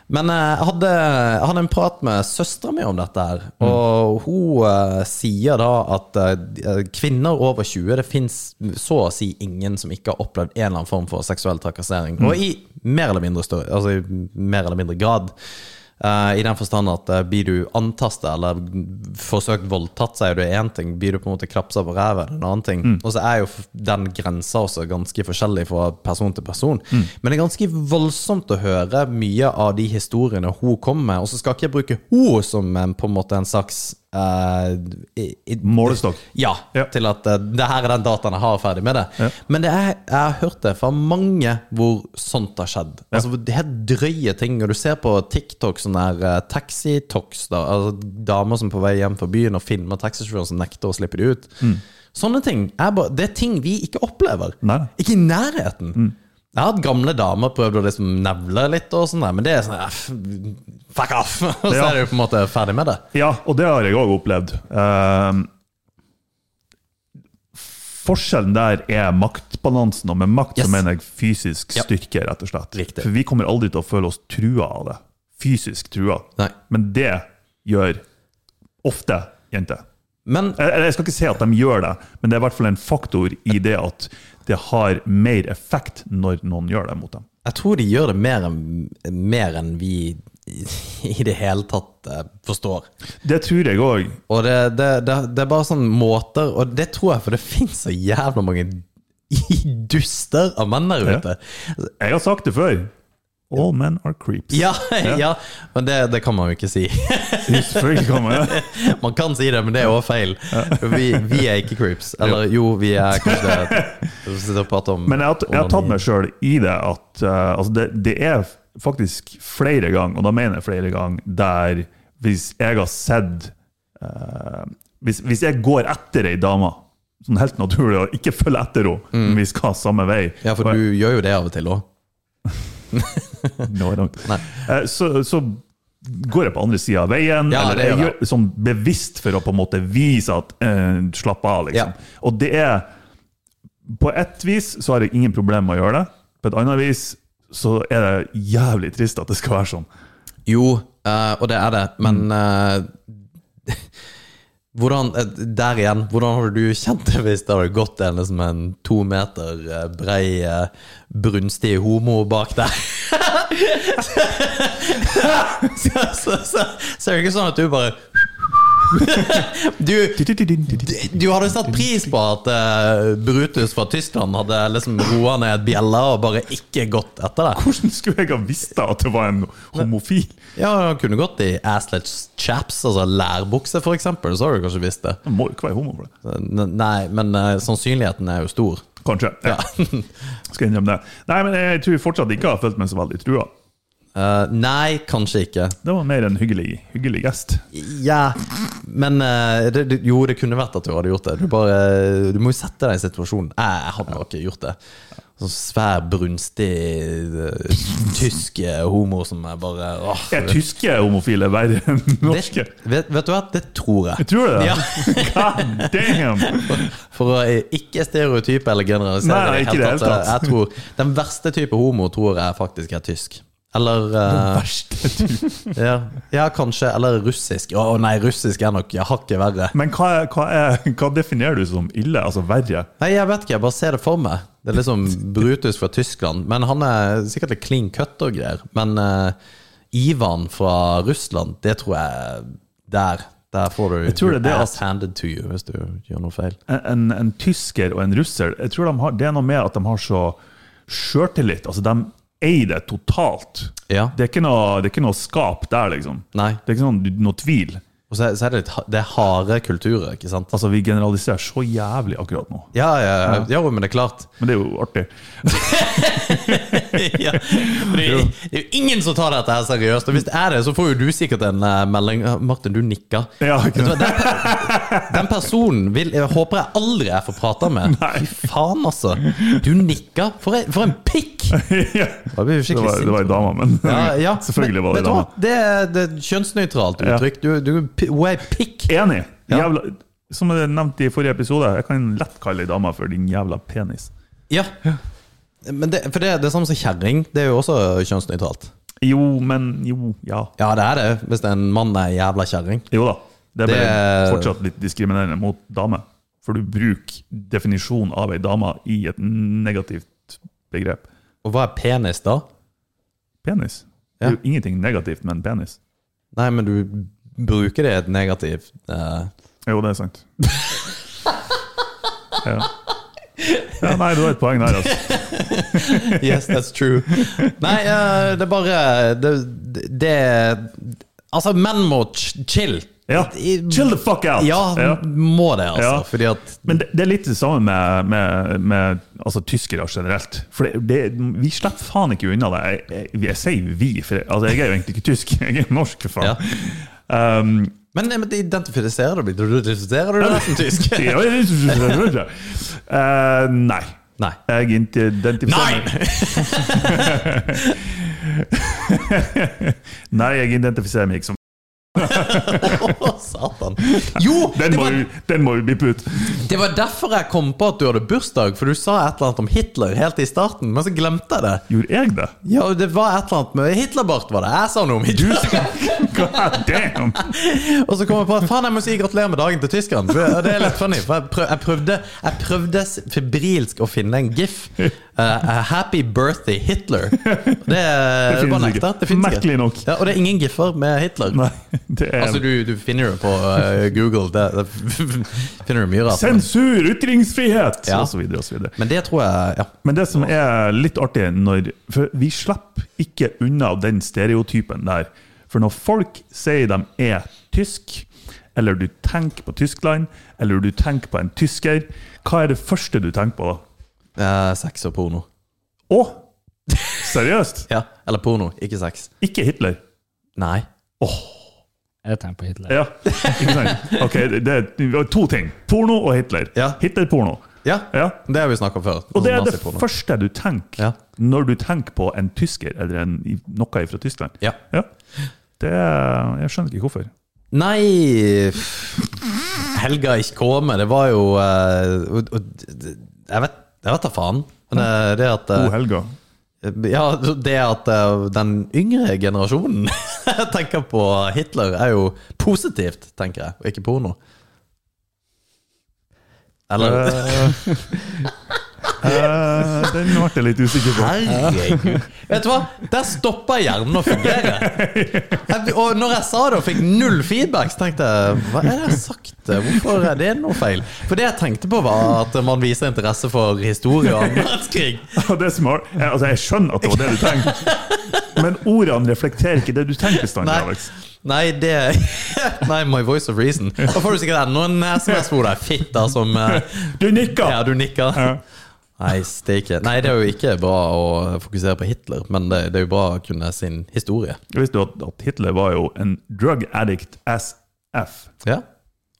S2: Men eh, jeg hadde, jeg hadde en prat med søstera mi om dette, her, og hun eh, sier da at eh, de- eh, kvinner over 20 Det fins så å si ingen som ikke har opplevd en eller annen form for seksuell
S3: Mm.
S2: trakassering. Og i mer eller mindre, større, altså i mer eller mindre grad. Eh, I den forstand at eh, blir du antastet eller forsøkt voldtatt, så er det én ting. Blir du på en måte klapsa på ræva, er det en annen ting. Og så er jo f- den grensa også ganske forskjellig fra person til person. Men det er ganske voldsomt å høre mye av de historiene hun kommer med. Og så skal ikke jeg bruke hun som en, på en måte en slags eh, i- i-
S3: målestokk.
S2: ja,
S3: Ja.
S2: til at eh, det her er den dataen jeg har ferdig med det.
S3: Ja.
S2: Men det er, jeg har hørt det fra mange hvor sånt har skjedd. Altså hvor Det er drøye ting. Og du ser på TikTok sånn der eh, taxi-tox, da, altså damer som er på vei hjem fra byen og filmer taxisjåføren som nekter å slippe de ut.
S3: Mm.
S2: Sånne ting. Er bare, det er ting vi ikke opplever.
S3: Nei. Mm.
S2: Ikke i nærheten. Jeg har hatt gamle damer prøvd å liksom nevle litt, og sånn der, men det er sånn eh, f- Fuck off! Og så
S3: Ja.
S2: er du på en måte ferdig med det.
S3: Ja, og det har jeg òg opplevd. Ehm, forskjellen der er maktbalansen, og med makt
S2: Yes.
S3: så mener jeg fysisk
S2: Ja.
S3: styrke, rett og slett.
S2: Riktig.
S3: For vi kommer aldri til å føle oss trua av det. Fysisk trua.
S2: Nei.
S3: Men det gjør ofte jenter.
S2: Men
S3: Eller jeg skal ikke si at de gjør det, men det er i hvert fall en faktor i det at det har mer effekt når noen gjør det mot dem.
S2: Jeg tror de gjør det mer enn, mer enn vi i i det hele tatt eh, forstår.
S3: Det tror jeg òg.
S2: Og det, det, det, det er bare sånne måter Og det tror jeg, for det finnes så jævla mange duster av menn der ute.
S3: Jeg har sagt det før. All men are creeps.
S2: Ja, ja. men det, det kan man jo ikke si.
S3: Selvfølgelig kan man det.
S2: Man kan si det, men det er også feil. Vi, vi er ikke creeps. Eller jo, vi er kanskje det. Vi sitter og prater om
S3: Men jeg har, jeg har tatt meg sjøl i det at eh, altså det, det er faktisk flere ganger, og da mener jeg flere ganger, der hvis jeg har sett eh, hvis, hvis jeg går etter ei dame, sånn helt naturlig, og ikke følger etter henne, men vi skal samme vei
S2: Mm. Ja, for
S3: og-
S2: du gjør jo det av og til òg.
S3: Nå er det langt.
S2: Nei.
S3: Eh, Så, så går jeg på andre sida av veien,
S2: Ja,
S3: eller
S2: det
S3: jeg
S2: gjør
S3: gjør sånn bevisst for å på en måte vise at eh, slapp av, liksom.
S2: Ja.
S3: Og det er På ett vis så har jeg ingen problemer med å gjøre det. På et annet vis så er det jævlig trist at det skal være sånn.
S2: Jo, eh, og det er det, men eh, hvordan, eh, Der igjen, hvordan hadde du kjent det hvis det hadde gått en, liksom en to meter eh, brei, eh, brunstig homo bak deg? så, så, så, så er det ikke sånn at du bare Du du hadde satt pris på at eh, Brutus fra Tyskland hadde liksom roa ned bjella og bare ikke gått etter deg?
S3: Hvordan skulle jeg ha visst da at det var en homofil?
S2: Ja, han kunne gått i asslets chaps, altså lærbukse for eksempel, så har du kanskje visst det.
S3: Jeg må jo ikke være homo for det.
S2: N- Nei, men eh, sannsynligheten er jo stor. Eh,
S3: Kanskje.
S2: Ja.
S3: Jeg skal innrømme det. Nei, men jeg tror fortsatt ikke jeg har følt meg så veldig trua.
S2: Eh, nei, kanskje ikke.
S3: Det var mer en hyggelig, hyggelig gest.
S2: Ja, men eh, det, det, jo, det kunne vært at du hadde gjort det. Du, bare, du må jo sette deg i situasjonen. Jeg, jeg hadde nok ikke gjort det. Sånn svær, brunstig eh, tysk eh, homo som er bare åh,
S3: Er tyske homofile verre enn norske?
S2: Det, vet, vet du hva, det tror jeg.
S3: Tror du det?
S2: Ja.
S3: God damn!
S2: For å ikke stereotype eller generalisere
S3: Nei,
S2: i
S3: ikke i det hele tatt.
S2: eh, Jeg tror, den verste type homo tror jeg faktisk er tysk. Eller eh, ja, ja, kanskje. Eller russisk. Å nei, russisk er nok ja, hakket verre.
S3: Men hva, er- hva, er, hva definerer du som ille? Altså verre?
S2: Nei, jeg vet ikke. Jeg bare ser det for meg. Det er liksom Brutus fra Tyskland. Men han er sikkert litt clean cut og greier. Men eh, Ivan fra Russland, det tror jeg Der. Der får du
S3: Jeg tror det altså. er det
S2: your
S3: at-
S2: ass handed to you hvis du gjør noe feil.
S3: En, en, en tysker og en russer Jeg tror de har, Det er noe med at de har så sjøltillit. Altså, de eier det totalt.
S2: Ja.
S3: Det er ikke noe, det er ikke noe skap der, liksom.
S2: Nei.
S3: Det er ikke sånn, noe tvil.
S2: Og så er, så er det litt ha- det er harde kulturer, ikke sant?
S3: Altså, vi generaliserer så jævlig akkurat nå.
S2: Ja, ja, ja. Jo, men det er klart.
S3: Men det er jo artig.
S2: ja. for det, er jo- det er jo ingen som tar dette her seriøst. Og hvis det er det, så får jo du sikkert en eh, melding Ah, Martin, du nikker.
S3: Ja, ikke
S2: Vet du hva,
S3: sant?
S2: Den, den personen vil, jeg håper jeg aldri jeg får prate med. Fy faen, altså. Du nikker. For, en- for en pikk!
S3: Ja.
S2: Da blir vi
S3: Det
S2: skikkelig
S3: var, det
S2: sint.
S3: var ei dame, men
S2: Ja, ja.
S3: selvfølgelig var
S2: Men- vet
S3: det ei
S2: du
S3: dame.
S2: hva? Det er det er kjønnsnøytralt
S3: Ja.
S2: uttrykk. Du, du, p- hun er en pikk.
S3: Enig!
S2: Ja.
S3: Jævla, som jeg nevnte i forrige episode, jeg kan lett kalle ei dame for din jævla penis.
S2: Ja. Men det, for det, det er samme som kjerring. Det er jo også kjønnsnøytralt.
S3: Jo, men Jo, ja.
S2: Ja, det er det, hvis en mann er en jævla kjerring.
S3: Jo da. Det er bare
S2: Det-
S3: fortsatt litt diskriminerende mot damer. For du bruker definisjonen av ei dame i et negativt begrep.
S2: Og hva er penis, da?
S3: Penis. Det er jo ingenting negativt med en penis.
S2: Nei, men du bruker det i et negativt eh,
S3: Jo, det er sant. ja. ja. Nei, du har et poeng der, altså.
S2: Yes, that's true. Nei, eh, det er bare Det, det Altså, menn må ch- chill.
S3: Ja.
S2: I-
S3: Chill the fuck out!
S2: Ja, må det, altså.
S3: Ja.
S2: Fordi at
S3: Men det, det er litt det samme med, med, med altså, tyskere generelt. For det, det, vi slipper faen ikke unna det. Jeg, jeg, jeg sier vi, for jeg, altså, jeg er jo egentlig ikke tysk. Jeg er norsk, for faen. Um,
S2: Men, men det identifiserer du deg Identifiserer du deg som tysk?
S3: Eh, nei.
S2: Nei.
S3: Jeg identifiserer meg Nei, jeg identifiserer meg ikke som
S2: Å, satan. Jo, det
S3: Den må,
S2: var,
S3: jo- den må jo bippe ut!
S2: det var derfor jeg kom på at du hadde bursdag, for du sa et eller annet om Hitler helt i starten, men så glemte jeg det.
S3: Gjorde jeg det?
S2: Ja, det var et eller annet med Hitlerbart, var det. Jeg sa noe om Hitler.
S3: God damn!
S2: Og så kom jeg på at faen, jeg må si gratulerer med dagen til tyskeren. For det- det er litt funny, for jeg, prøv, jeg prøvde Jeg prøvde s- febrilsk å finne en gif. Eh, a happy birthday Hitler. Det, det, var
S3: finnes ikke.
S2: nekta. Det finnes ikke.
S3: Merkelig nok.
S2: Ja, og det er ingen giffer med Hitler.
S3: Nei, det er
S2: Altså, du, du finner det på eh, Google. Det, det finner du mye rart. men-
S3: Sensur, ytringsfrihet!
S2: Ja.
S3: Og så videre og så videre.
S2: Men det tror jeg Ja.
S3: Men det som er litt artig når, For vi slipper ikke unna den stereotypen der. For når folk sier de er tysk, eller du tenker på Tyskland, eller du tenker på en tysker, hva er det første du tenker på da?
S2: eh, sex og porno.
S3: Å! Seriøst?
S2: Ja, Eller porno, ikke sex.
S3: Ikke Hitler.
S2: Nei.
S4: Jeg tenker på Hitler.
S3: Ja, ikke sant? Ok, det er to ting. Porno og Hitler.
S2: Ja.
S3: Hitler-porno.
S2: Ja,
S3: Ja.
S2: det har vi snakka om før.
S3: Og det er det
S2: Naziporno.
S3: første du tenker
S2: Ja.
S3: når du tenker på en tysker eller en, noe fra Tyskland.
S2: Ja. Eh.
S3: Ja. Det, jeg skjønner ikke hvorfor.
S2: Nei pff. Helga ikke komme, det var jo eh, og- og- Jeg vet jeg vet da faen. Men eh, det at
S3: God
S2: eh,
S3: helga.
S2: Ja, det at eh, den yngre generasjonen tenker på Hitler, er jo positivt, tenker jeg, og ikke porno. Eller
S3: Eh, den ble jeg litt usikker på.
S2: Herregud. Vet du hva? Der stoppa hjernen å fungere. Jeg- Og når jeg sa det og fikk null feedback, så tenkte jeg Hva er det jeg har sagt? Hvorfor er det noe feil? For det jeg tenkte på, var at man viser interesse for historie og annen verdenskrig.
S3: Og Det som har, eh, altså, jeg skjønner at det var det du tenkte, men ordene reflekterer ikke det du tenker bestandig,
S2: Nei.
S3: Alex.
S2: Nei, det Nei, my voice of reason. Da får du sikkert enda en SMS hvor det er fitta som eh,
S3: Du nikker!
S2: Ja, du
S3: Ja.
S2: nikker. Nei, steike. Nei, det er jo ikke bra å fokusere på Hitler, men det, det er jo bra å kunne sin historie.
S3: Visste du at, at Hitler var jo en drug addict as F?
S2: Ja.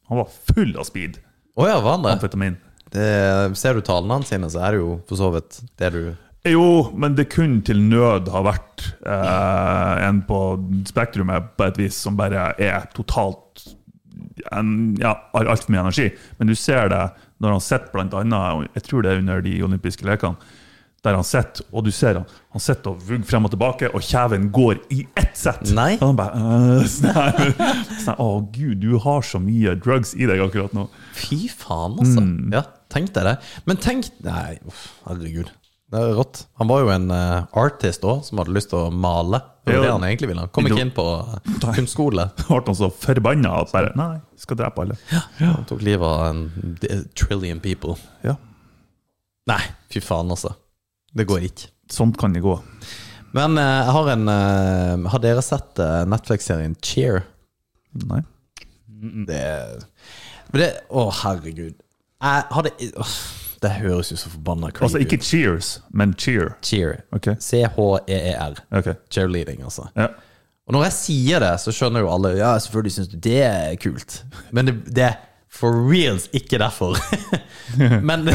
S3: Han var full av speed.
S2: Å ja, var han det?
S3: Amfetamin.
S2: det, ser du talene hans sine, så er det jo for så vidt det du
S3: Jo, men det kunne til nød ha vært eh, en på spektrumet på et vis som bare er totalt en, ja, har altfor mye energi. Men du ser det når han sitter blant annet, og jeg tror det er under de olympiske lekene, der han sitter, og du ser han, han sitter og vugger frem og tilbake, og kjeven går i ett sett.
S2: Nei.
S3: Og han bare øh, sånn her. Sånn, Å gud, du har så mye drugs i deg akkurat nå.
S2: Fy faen, altså! Ja, tenk deg det. Men tenk Nei, uff, herregud. Det er rått. Han var jo en eh, artist òg, som hadde lyst til å male. Det
S3: Jo.
S2: var det han egentlig ville. Han kom ikke inn på eh, kunstskole.
S3: Ble han så forbanna at bare Nei, skal drepe alle.
S2: Han tok livet av en d- trillion people.
S3: Ja,
S2: Nei, fy faen, altså. Det går ikke.
S3: Sånt kan det gå.
S2: Men eh, jeg har en eh, Har dere sett eh, Netflix-serien Cheer?
S3: Nei.
S2: Det men det, Å, herregud. Jeg hadde åh, Det høres jo så forbanna crazy
S3: Altså ikke
S2: ut.
S3: cheers, men cheer.
S2: Cheer.
S3: Ok.
S2: C-h-e-e-r.
S3: Ok.
S2: E Cheerleading, altså.
S3: Ja.
S2: Og når jeg sier det, så skjønner jo alle Ja, selvfølgelig syns du det er kult, men det, det er for reals ikke derfor. men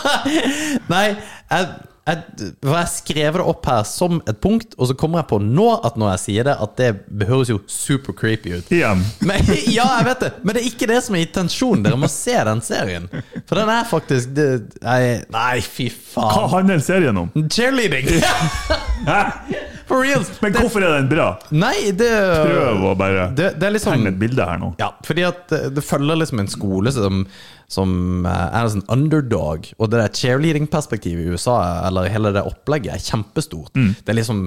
S2: Nei, jeg, jeg, for jeg skrev det opp her som et punkt, og så kommer jeg på nå at når jeg sier det, at det høres jo super creepy ut.
S3: Igjen.
S2: Men, ja, jeg vet det, men det er ikke det som er intensjonen. Dere må se den serien. For den er faktisk det, nei, nei, fy
S3: Hva
S2: faen.
S3: handler serien om?
S2: Cheerleading!
S3: Hæ?
S2: For reals.
S3: Men
S2: Det,
S3: hvorfor er den bra?
S2: nei, det
S3: Prøv å bare
S2: det, det er
S3: tegne
S2: liksom
S3: et bilde her nå.
S2: Ja, fordi at det, det følger liksom en skole som, som eh, er en sånn underdog, og det der cheerleading-perspektivet i USA, eller hele det opplegget, er kjempestort. Det er liksom,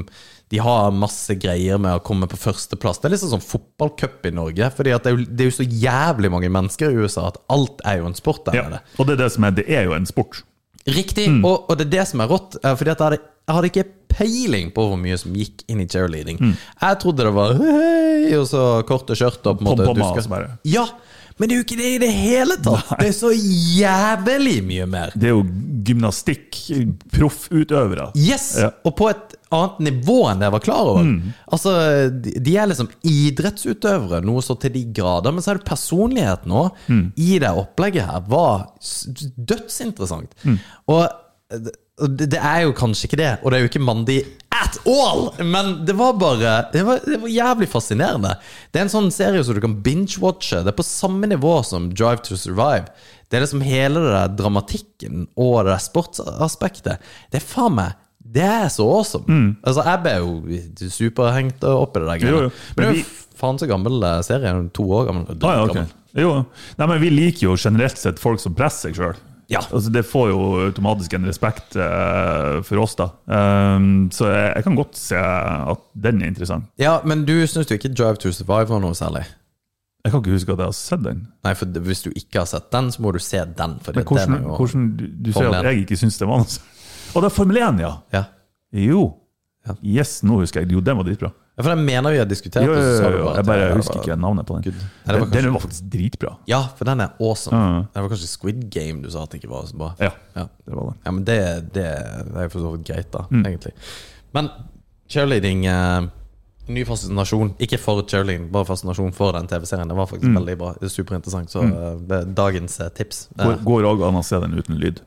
S2: De har masse greier med å komme på førsteplass. Det er liksom sånn fotballcup i Norge. fordi at det er, jo, det er jo så jævlig mange mennesker i USA at alt er jo en sport der
S3: Ja.
S2: nede.
S3: Og det er det som er Det er jo en sport.
S2: Riktig, og, og det er det som er rått. eh, Fordi at jeg hadde, jeg hadde ikke peiling på hvor mye som gikk inn i cheerleading. Jeg trodde det var hei, og så korte skjørt og på en måte
S3: Pom-pommer,
S2: du skal-
S3: altså bare.
S2: Ja, men det er jo ikke det i det hele tatt! Det er så jævlig mye mer.
S3: Det er jo gymnastikk. Proffutøvere.
S2: Yes!
S3: Ja.
S2: Og på et annet nivå enn det jeg var klar over. Altså, de de er liksom idrettsutøvere, noe så til de grader. Men så er det personligheten òg, i det opplegget her, var s- dødsinteressant. Og det- og det, det er jo kanskje ikke det, og det er jo ikke mandig at all! Men det var bare det var, det var jævlig fascinerende. Det er en sånn serie som du kan binge-watche. Det er på samme nivå som Drive to Survive. Det er liksom hele det der dramatikken og det der sportsaspektet. Det er faen meg det er så awesome! Altså, jeg ble jo superhengt opp i det der.
S3: Mm. Jo, jo.
S2: greiene. Men det
S3: Men
S2: er
S3: vi-
S2: jo faen så gammel eh, serie. den er To år gammel.
S3: Ah, ja, ok.
S2: gammel.
S3: jo. Nei, men vi liker jo generelt sett folk som presser seg sjøl.
S2: Ja.
S3: Altså, det får jo automatisk en respekt eh, for oss, da. Ehm, så jeg, jeg kan godt se at den er interessant.
S2: ja, Men du syns du ikke Drive to Survive var noe særlig?
S3: Jeg kan ikke huske at jeg har sett den.
S2: Nei, for det- hvis du ikke har sett den, så må du se den. Fordi
S3: Men hvordan,
S2: den er jo-
S3: hvordan du, du sier
S2: Formel
S3: at
S2: 1.
S3: jeg ikke syns det var noe sånt? Å, det er Formel 1, ja!
S2: Ja.
S3: Jo.
S2: Ja.
S3: Yes, nå husker jeg. Jo, den var dritbra.
S2: ja, for den mener vi har diskutert.
S3: Jo, jo,
S2: og så sa
S3: jo,
S2: du
S3: jo.
S2: at
S3: Jeg bare
S2: det
S3: husker
S2: var-
S3: ikke navnet på
S2: Nei,
S3: den.
S2: det var
S3: Den- Den
S2: kanskje-
S3: var faktisk dritbra.
S2: Ja, for den er awesome.
S3: Ja, ja.
S2: Det var kanskje Squid Game du sa at det ikke var så bra.
S3: Ah. Ja,
S2: Ja.
S3: det var det.
S2: Ja, men det, det er jo for så vidt greit, da,
S3: Mm.
S2: egentlig. Men cheerleading eh, Ny fascinasjon. Ikke for cheerleading, bare fascinasjon for den TV-serien. Det var faktisk
S3: Mm.
S2: veldig bra. Det er Superinteressant. Så eh, det er dagens eh, tips. Eh,
S3: Går- Går òg an å se den uten lyd.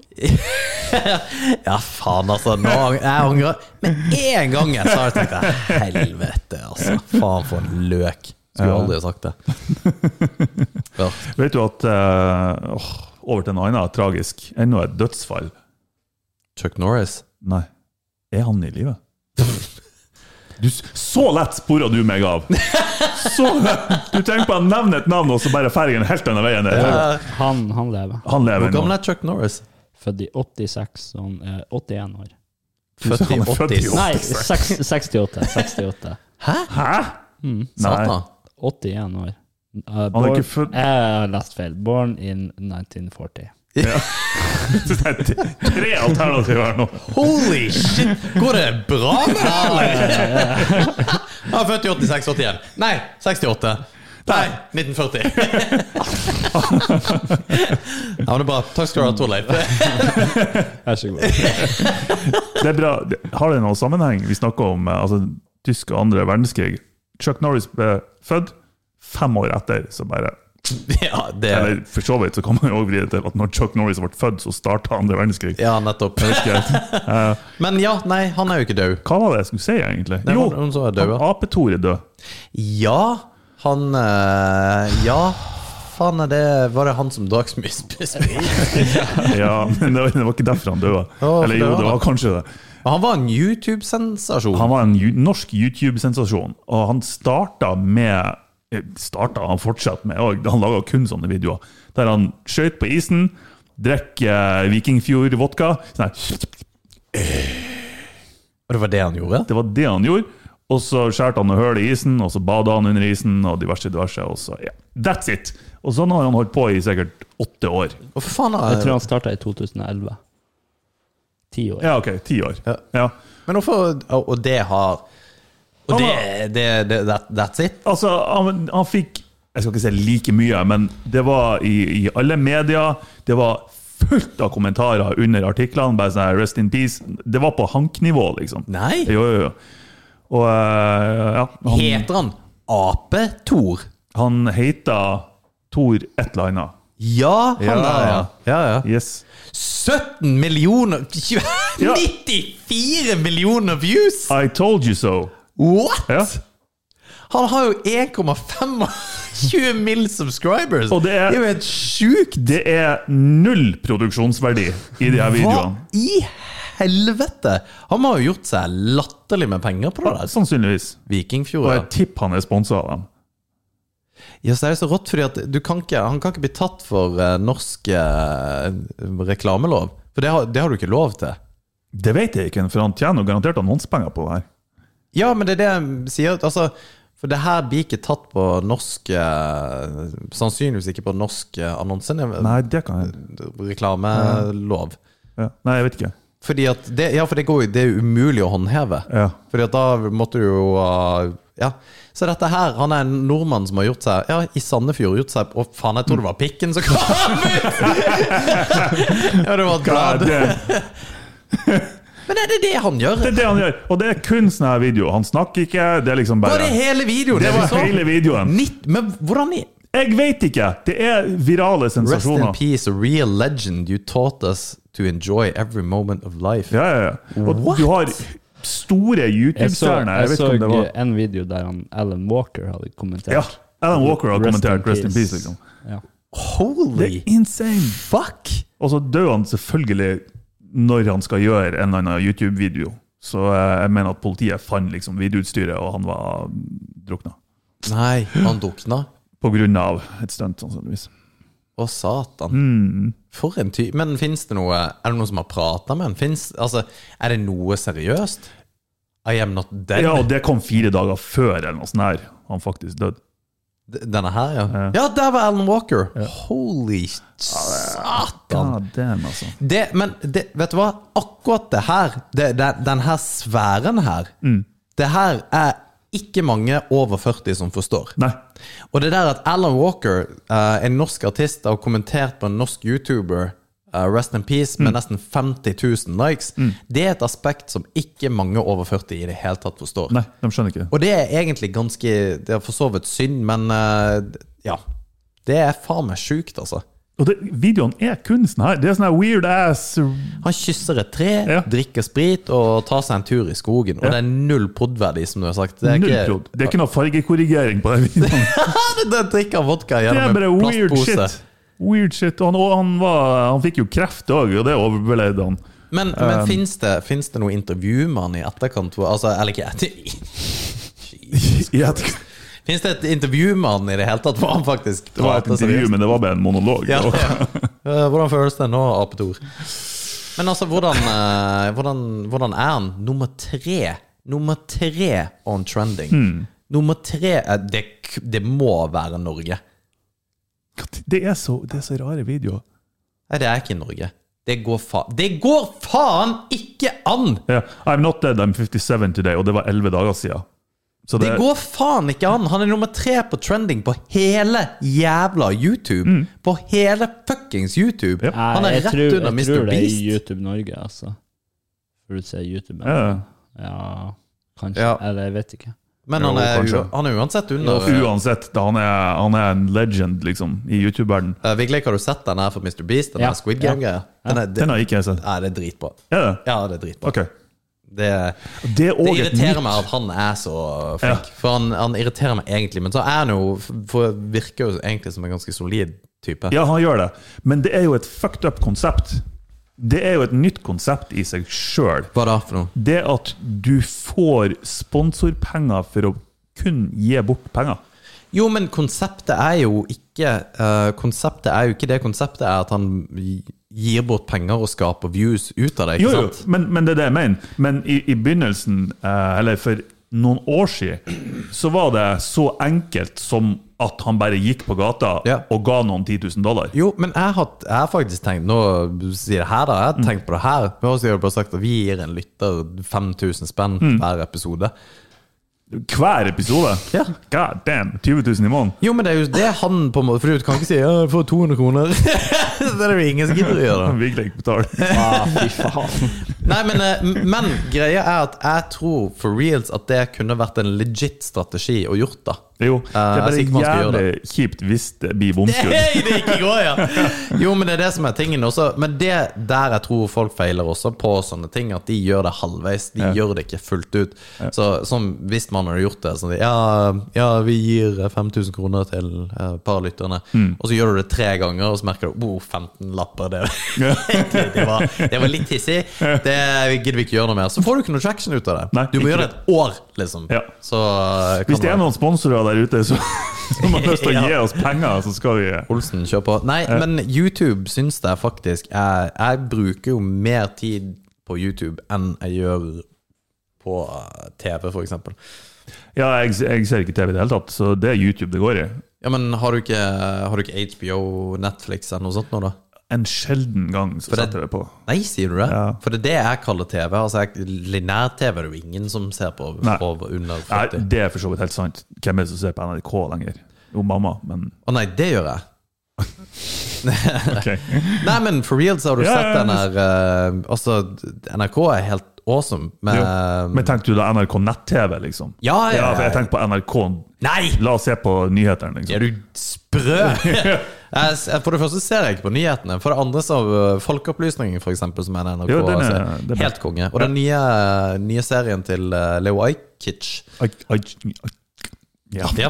S2: ja, faen, altså. Nå, jeg angrer. Men én gang jeg sa det, tenkte jeg helvete, altså. Faen, for en løk. Skulle
S3: Ja.
S2: aldri ha sagt det. Ja.
S3: Vet du at eh, åh, Over til noe annet tragisk. Enda et dødsfall.
S2: Chuck Norris.
S3: Nei. Er han i live? Du, s- så lett spora du meg av! Så lett. Du trenger bare å nevne et navn, og så bare ferger den helt annen vei enn det.
S4: Han, han lever.
S3: Han lever
S2: Hvor
S3: nå.
S2: gammel er Chuck Norris?
S4: Født i 86, så han er 81 år.
S2: Født i
S3: han er født i
S2: 80.
S4: Nei, seks- 68. 68.
S2: Hæ?
S3: Hæ?
S2: Satan.
S4: 81 år. Uh,
S3: Han
S4: born-
S3: er ikke født
S4: Jeg har lest feil. Born in 1940.
S3: Det er Tre alternativer her nå.
S2: Holy shit! Går det bra med deg, eller? Jeg er født i 86 81. Nei, 68. Nei, 1940. Ja, men det er bra. Takk skal du ha, Torleif.
S4: Vær så god.
S3: Det er bra. Har det noen sammenheng? Vi snakker om eh, altså, tysk og andre verdenskrig. Chuck Norris ble født fem år etter, så bare
S2: Ja, det
S3: Eller for så vidt så kan man jo også vri det til at når Chuck Norris ble født, så starta andre verdenskrig.
S2: Ja, nettopp. Men ja, nei, han er jo ikke død.
S3: Hva var det jeg skulle si, egentlig?
S2: Det var noen som var død,
S3: han Apetor er død.
S2: Ja, han eh, Ja, faen er det Var det han som drakk så mye sprit?
S3: Ja, men det var, det var ikke derfor han døde.
S2: for
S3: Eller
S2: det
S3: jo,
S2: var
S3: det var
S2: han.
S3: kanskje det.
S2: Han var en YouTube-sensasjon.
S3: Han var en ju- norsk YouTube-sensasjon, og han starta med eh, starta, Han fortsatte med og Han laga kun sånne videoer der han skøyt på isen, drakk eh, Vikingfjord-vodka. sånn her,
S2: Og det var det han gjorde?
S3: Det var det han gjorde. Og så skjærte han noe hull i isen, og så bada han under isen, og diverse, diverse. Og så, ja, that's it! Og sånn har han holdt på i sikkert åtte år.
S2: Å, for faen,
S4: Jeg tror
S2: han,
S4: han starta i 2011. Ti år.
S3: Ja, OK, ti år.
S2: Ja.
S3: Ja.
S2: men hvorfor Og og det har Og
S3: Han
S2: det,
S3: var-
S2: det, det that, That's it?
S3: Altså, han, han fikk Jeg skal ikke si like mye, men det var i, i alle media. Det var fullt av kommentarer under artiklene. Bare sånn her, Rest in peace. Det var på hanknivå, liksom.
S2: Nei.
S3: Jo, jo, jo. Og eh, ja, han,
S2: Heter han Ape-Tor?
S3: han heter Tor et eller annet.
S2: Ja, han
S3: Ja.
S2: der, ja. ja, ja.
S3: Yes.
S2: 17 millioner tjue-
S3: Ja.
S2: 94 millioner views!
S3: I told you so.
S2: What?!
S3: Ja.
S2: Han har jo 1,25 mill. subscribers!
S3: Og det er-
S2: jo helt sjukt!
S3: Det er null produksjonsverdi i de her
S2: Hva
S3: videoene.
S2: i helvete?! Han må ha gjort seg latterlig med penger på det der.
S3: Sannsynligvis. Og
S2: Vikingfjord.
S3: jeg
S2: ja.
S3: tipper han er sponsa av dem.
S2: Ja, så er det så rått, fordi at du kan ikke, han kan ikke bli tatt for eh, norsk eh, reklamelov. For det har, det har du ikke lov til.
S3: Det vet jeg ikke, for han tjener jo garantert annonsepenger på det her.
S2: Ja, men det er det jeg sier. Altså, for det her blir ikke tatt på norsk eh, Sannsynligvis ikke på norsk eh, annonse,
S3: Nei, det kan jeg
S2: reklamelov.
S3: ja. Nei, jeg vet ikke.
S2: Fordi at det, ja, for det, går, jo- det er jo umulig å håndheve.
S3: Ja.
S2: Fordi at da måtte du jo eh, Ja. Så dette her, han er en nordmann som har gjort seg Ja, i Sandefjord gjort seg Å, faen, jeg tror det var pikken som kom ut! ja, det var et
S3: God,
S2: blad.
S3: det,
S2: Men er det det han gjør?
S3: det er det han gjør! Og det er kun sånn her video. Han snakker ikke, det er liksom
S2: Var
S3: bare
S2: det hele videoen?
S3: Det
S2: vi
S3: var
S2: så?
S3: hele videoen.
S2: Nitt, men hvordan i
S3: Jeg vet ikke! Det er virale
S2: Rest in
S3: sensasjoner.
S2: peace, a real legend. You taught us to enjoy every moment of life.
S3: Ja, ja, ja. Og
S2: What?
S3: du har store
S4: Jeg så,
S3: YouTube-stjerner. Jeg
S4: jeg
S3: vet ikke
S4: så
S3: om det var
S4: en video der han, Alan Walker hadde kommentert.
S3: Ja, Alan Walker har
S4: Rest in
S3: kommentert 'Rest in peace'. liksom.
S4: Ja.
S3: Det
S2: Holy
S3: er insane!
S2: fuck!
S3: Og så dør han selvfølgelig når han skal gjøre en eller annen YouTube-video. Så eh, jeg mener at politiet fant liksom videoutstyret, og han var drukna.
S2: Nei, han drukna.
S3: På grunn av et stunt, sånn sannsynligvis.
S2: Å, satan.
S3: Mm.
S2: For en ty... Men fins det noe Er det noen som har prata med han? Finnes, altså, er det noe seriøst? I am not dead.
S3: Ja, og det kom fire dager før eller noe sånt her. han faktisk døde.
S2: D- Denne her, ja. Ja, der var Alan Walker! Holy satan!
S3: God damn, altså.
S2: Det, men det, vet du hva? Akkurat det her, det, det, den her sfæren her,
S3: Mm.
S2: det her er ikke mange over 40 som forstår.
S3: Nei.
S2: Og det der at Alan Walker, eh, en norsk artist, har kommentert på en norsk YouTuber eh, Rest in Peace
S3: Mm.
S2: med nesten 50 000 likes, det er et aspekt som ikke mange over 40 i det hele tatt forstår.
S3: Nei, de skjønner ikke.
S2: Og det er egentlig ganske Det er for så vidt synd, men eh, ja. Det er faen meg sjukt, altså.
S3: Og det, videoen er kunsten her. Det er sånn her weird ass
S2: Han kysser et tre,
S3: Ja.
S2: drikker sprit og tar seg en tur i skogen. Og det er null prod-verdi, som du har sagt. Det er
S3: null
S2: ikke-
S3: prod. Det er ikke noe fargekorrigering på den videoen.
S2: det, det drikker vodka
S3: Det er
S2: gjennom
S3: bare
S2: en
S3: weird
S2: plastpose.
S3: shit. Weird shit. Og han, og han, var, han fikk jo kreft òg, og det overlevde han.
S2: Men,
S3: Um,
S2: men fins det, finnes det noe intervju med han i etterkant? hvor- Altså, eller ikke etter...
S3: I etterkant.
S2: Fins det et intervju med han i det hele tatt? Hvor han faktisk
S3: Det var et
S2: prater
S3: intervju,
S2: seriøst?
S3: men det var bare en monolog.
S2: Ja,
S3: Og-
S2: ja. Eh, Hvordan føles det nå, Apetor? Men altså, hvordan, eh, hvordan, hvordan er han? Nummer tre. Nummer tre on trending.
S3: Hmm.
S2: Nummer tre eh, det, k- det må være Norge.
S3: Det, er så, det er så rare videoer.
S2: Nei, det er ikke Norge. Det går faen Det går faen ikke an!
S3: Ja. I'm not dead, I'm 57 today, og det var 11 dager siden. Så det,
S2: Det går faen ikke an! Han er nummer tre på trending på hele jævla YouTube. På hele fuckings YouTube!
S3: Mm. Ja.
S2: Han
S4: Nei,
S2: er
S4: jeg
S2: rett
S4: tror-
S2: under Mr.
S4: Jeg tror det er
S2: Beast.
S4: i YouTube Norge, altså. For du ser YouTube.
S3: ja, ja.
S4: Ja, kanskje.
S2: Ja.
S4: Eller jeg vet ikke.
S2: Men
S3: Jo,
S2: han er, u-
S3: kanskje.
S2: han er uansett under
S3: Uansett, da, han, er, han er en legend liksom, i YouTube-verden.
S2: Eh, Vigleik, har du sett den her for Mr. Beast? Den
S4: Ja.
S2: her Squid Game-greia? Den er- det-
S3: Den har ikke jeg sett.
S2: Nei, det er dritbra.
S3: Er det?
S2: Ja, det er dritbra.
S3: Ok.
S2: Det,
S3: Det, er
S2: det
S3: også et
S2: irriterer
S3: nytt-
S2: meg at han er så flink. For han, han irriterer meg egentlig, men så er han jo for virker jo egentlig som en ganske solid type.
S3: Ja, han gjør det. Men det er jo et fucked up konsept. Det er jo et nytt konsept i seg sjøl.
S2: Hva da for noe?
S3: Det at du får sponsorpenger for å kun gi bort penger.
S2: Jo, men konseptet er jo ikke eh, Konseptet er jo ikke det. Konseptet er at han gi- gir bort penger og skaper views ut av det,
S3: Jo,
S2: ikke
S3: jo,
S2: sant?
S3: men, men det er det jeg mener. Men i, i begynnelsen, eh, eller for noen år siden, så var det så enkelt som at han bare gikk på gata
S2: Ja.
S3: og ga noen 10 000 dollar.
S2: Jo, men jeg har, jeg har faktisk tenkt Nå sier jeg det her, da.
S3: Mm.
S2: Jeg har tenkt på det
S3: Mm.
S2: her. Men også har jeg bare sagt at vi gir en lytter 5000 spenn hver episode.
S3: Hver episode?
S2: Ja.
S3: God damn! 20 000 i måneden?
S2: Jo, men det er jo det han på en måte For du kan ikke si «Ja, 'jeg får 200 kroner'. det er det jo ingen som gidder å gjøre.
S3: Han vil ikke betale.
S4: Ah, fy faen.
S2: Nei, men, eh, men greia er at jeg tror for reals at det kunne vært en legit strategi å gjort, da.
S3: Jo, det er
S2: Eh, jeg er sikker på
S3: bare
S2: han skal gjøre
S3: jævlig kjipt hvis det blir bomskudd.
S2: Hei, det gikk i går, ja! Jo, men det er det som er tingen også. Men det der jeg tror folk feiler også på sånne ting, at de gjør det halvveis. De gjør det ikke fullt ut. Så som hvis man hadde gjort det sånn Ja, ja vi gir 5000 kroner til eh, et par av lytterne,
S3: Mm.
S2: og så gjør du det tre ganger, og så merker du oh, 15 lapper, det, det, var, det var litt hissig. Det gidder vi ikke gjøre noe mer. Så får du ikke noe traction ut av det.
S3: Nei,
S2: du må
S3: ikke
S2: gjøre det et år, liksom.
S3: Ja.
S2: Så eh, kan
S3: Hvis det er
S2: man-
S3: noen sponsorer der ute som som har lyst til å gi oss penger, så skal vi
S2: Olsen, kjør på. Nei, men YouTube syns jeg faktisk jeg, jeg bruker jo mer tid på YouTube enn jeg gjør på eh, TV, for eksempel.
S3: Ja, jeg, jeg ser ikke TV i det hele tatt, så det er YouTube det går i.
S2: Ja, men har du ikke, har du ikke HBO, Netflix eller noe sånt nå, da?
S3: En sjelden gang så
S2: det-
S3: setter jeg det på.
S2: Nei, sier du det?
S3: Ja.
S2: For det er det jeg kaller TV. Altså, jeg- Linær-TV er det jo ingen som ser på
S3: Nei.
S2: over under
S3: Nei,
S2: 40.
S3: det er for så vidt helt sant. Hvem er det som ser på NRK lenger? Jo, mamma, men
S2: Å nei, det gjør jeg.
S3: ok.
S2: Nei, men for real så har du
S3: Ja,
S2: sett
S3: ja,
S2: den her eh, Altså, NRK er helt awesome, men,
S3: Jo. Men tenkte du da NRK nett-TV, liksom?
S2: Eh, Ja, ja, ja.
S3: for jeg tenker på NRK
S2: Nei!
S3: La oss se på nyhetene,
S2: Er
S3: liksom.
S2: du sprø? Jeg s- For det første ser jeg ikke på nyhetene. For det andre så uh, Folkeopplysningen, for eksempel, som er en NRK.
S3: Jo, den er-
S2: altså,
S3: den er-
S2: helt konge. Og den nye, eh, nye serien til uh, Leo Ajkic,
S3: Ai, ai, ai. Ja.
S2: ja.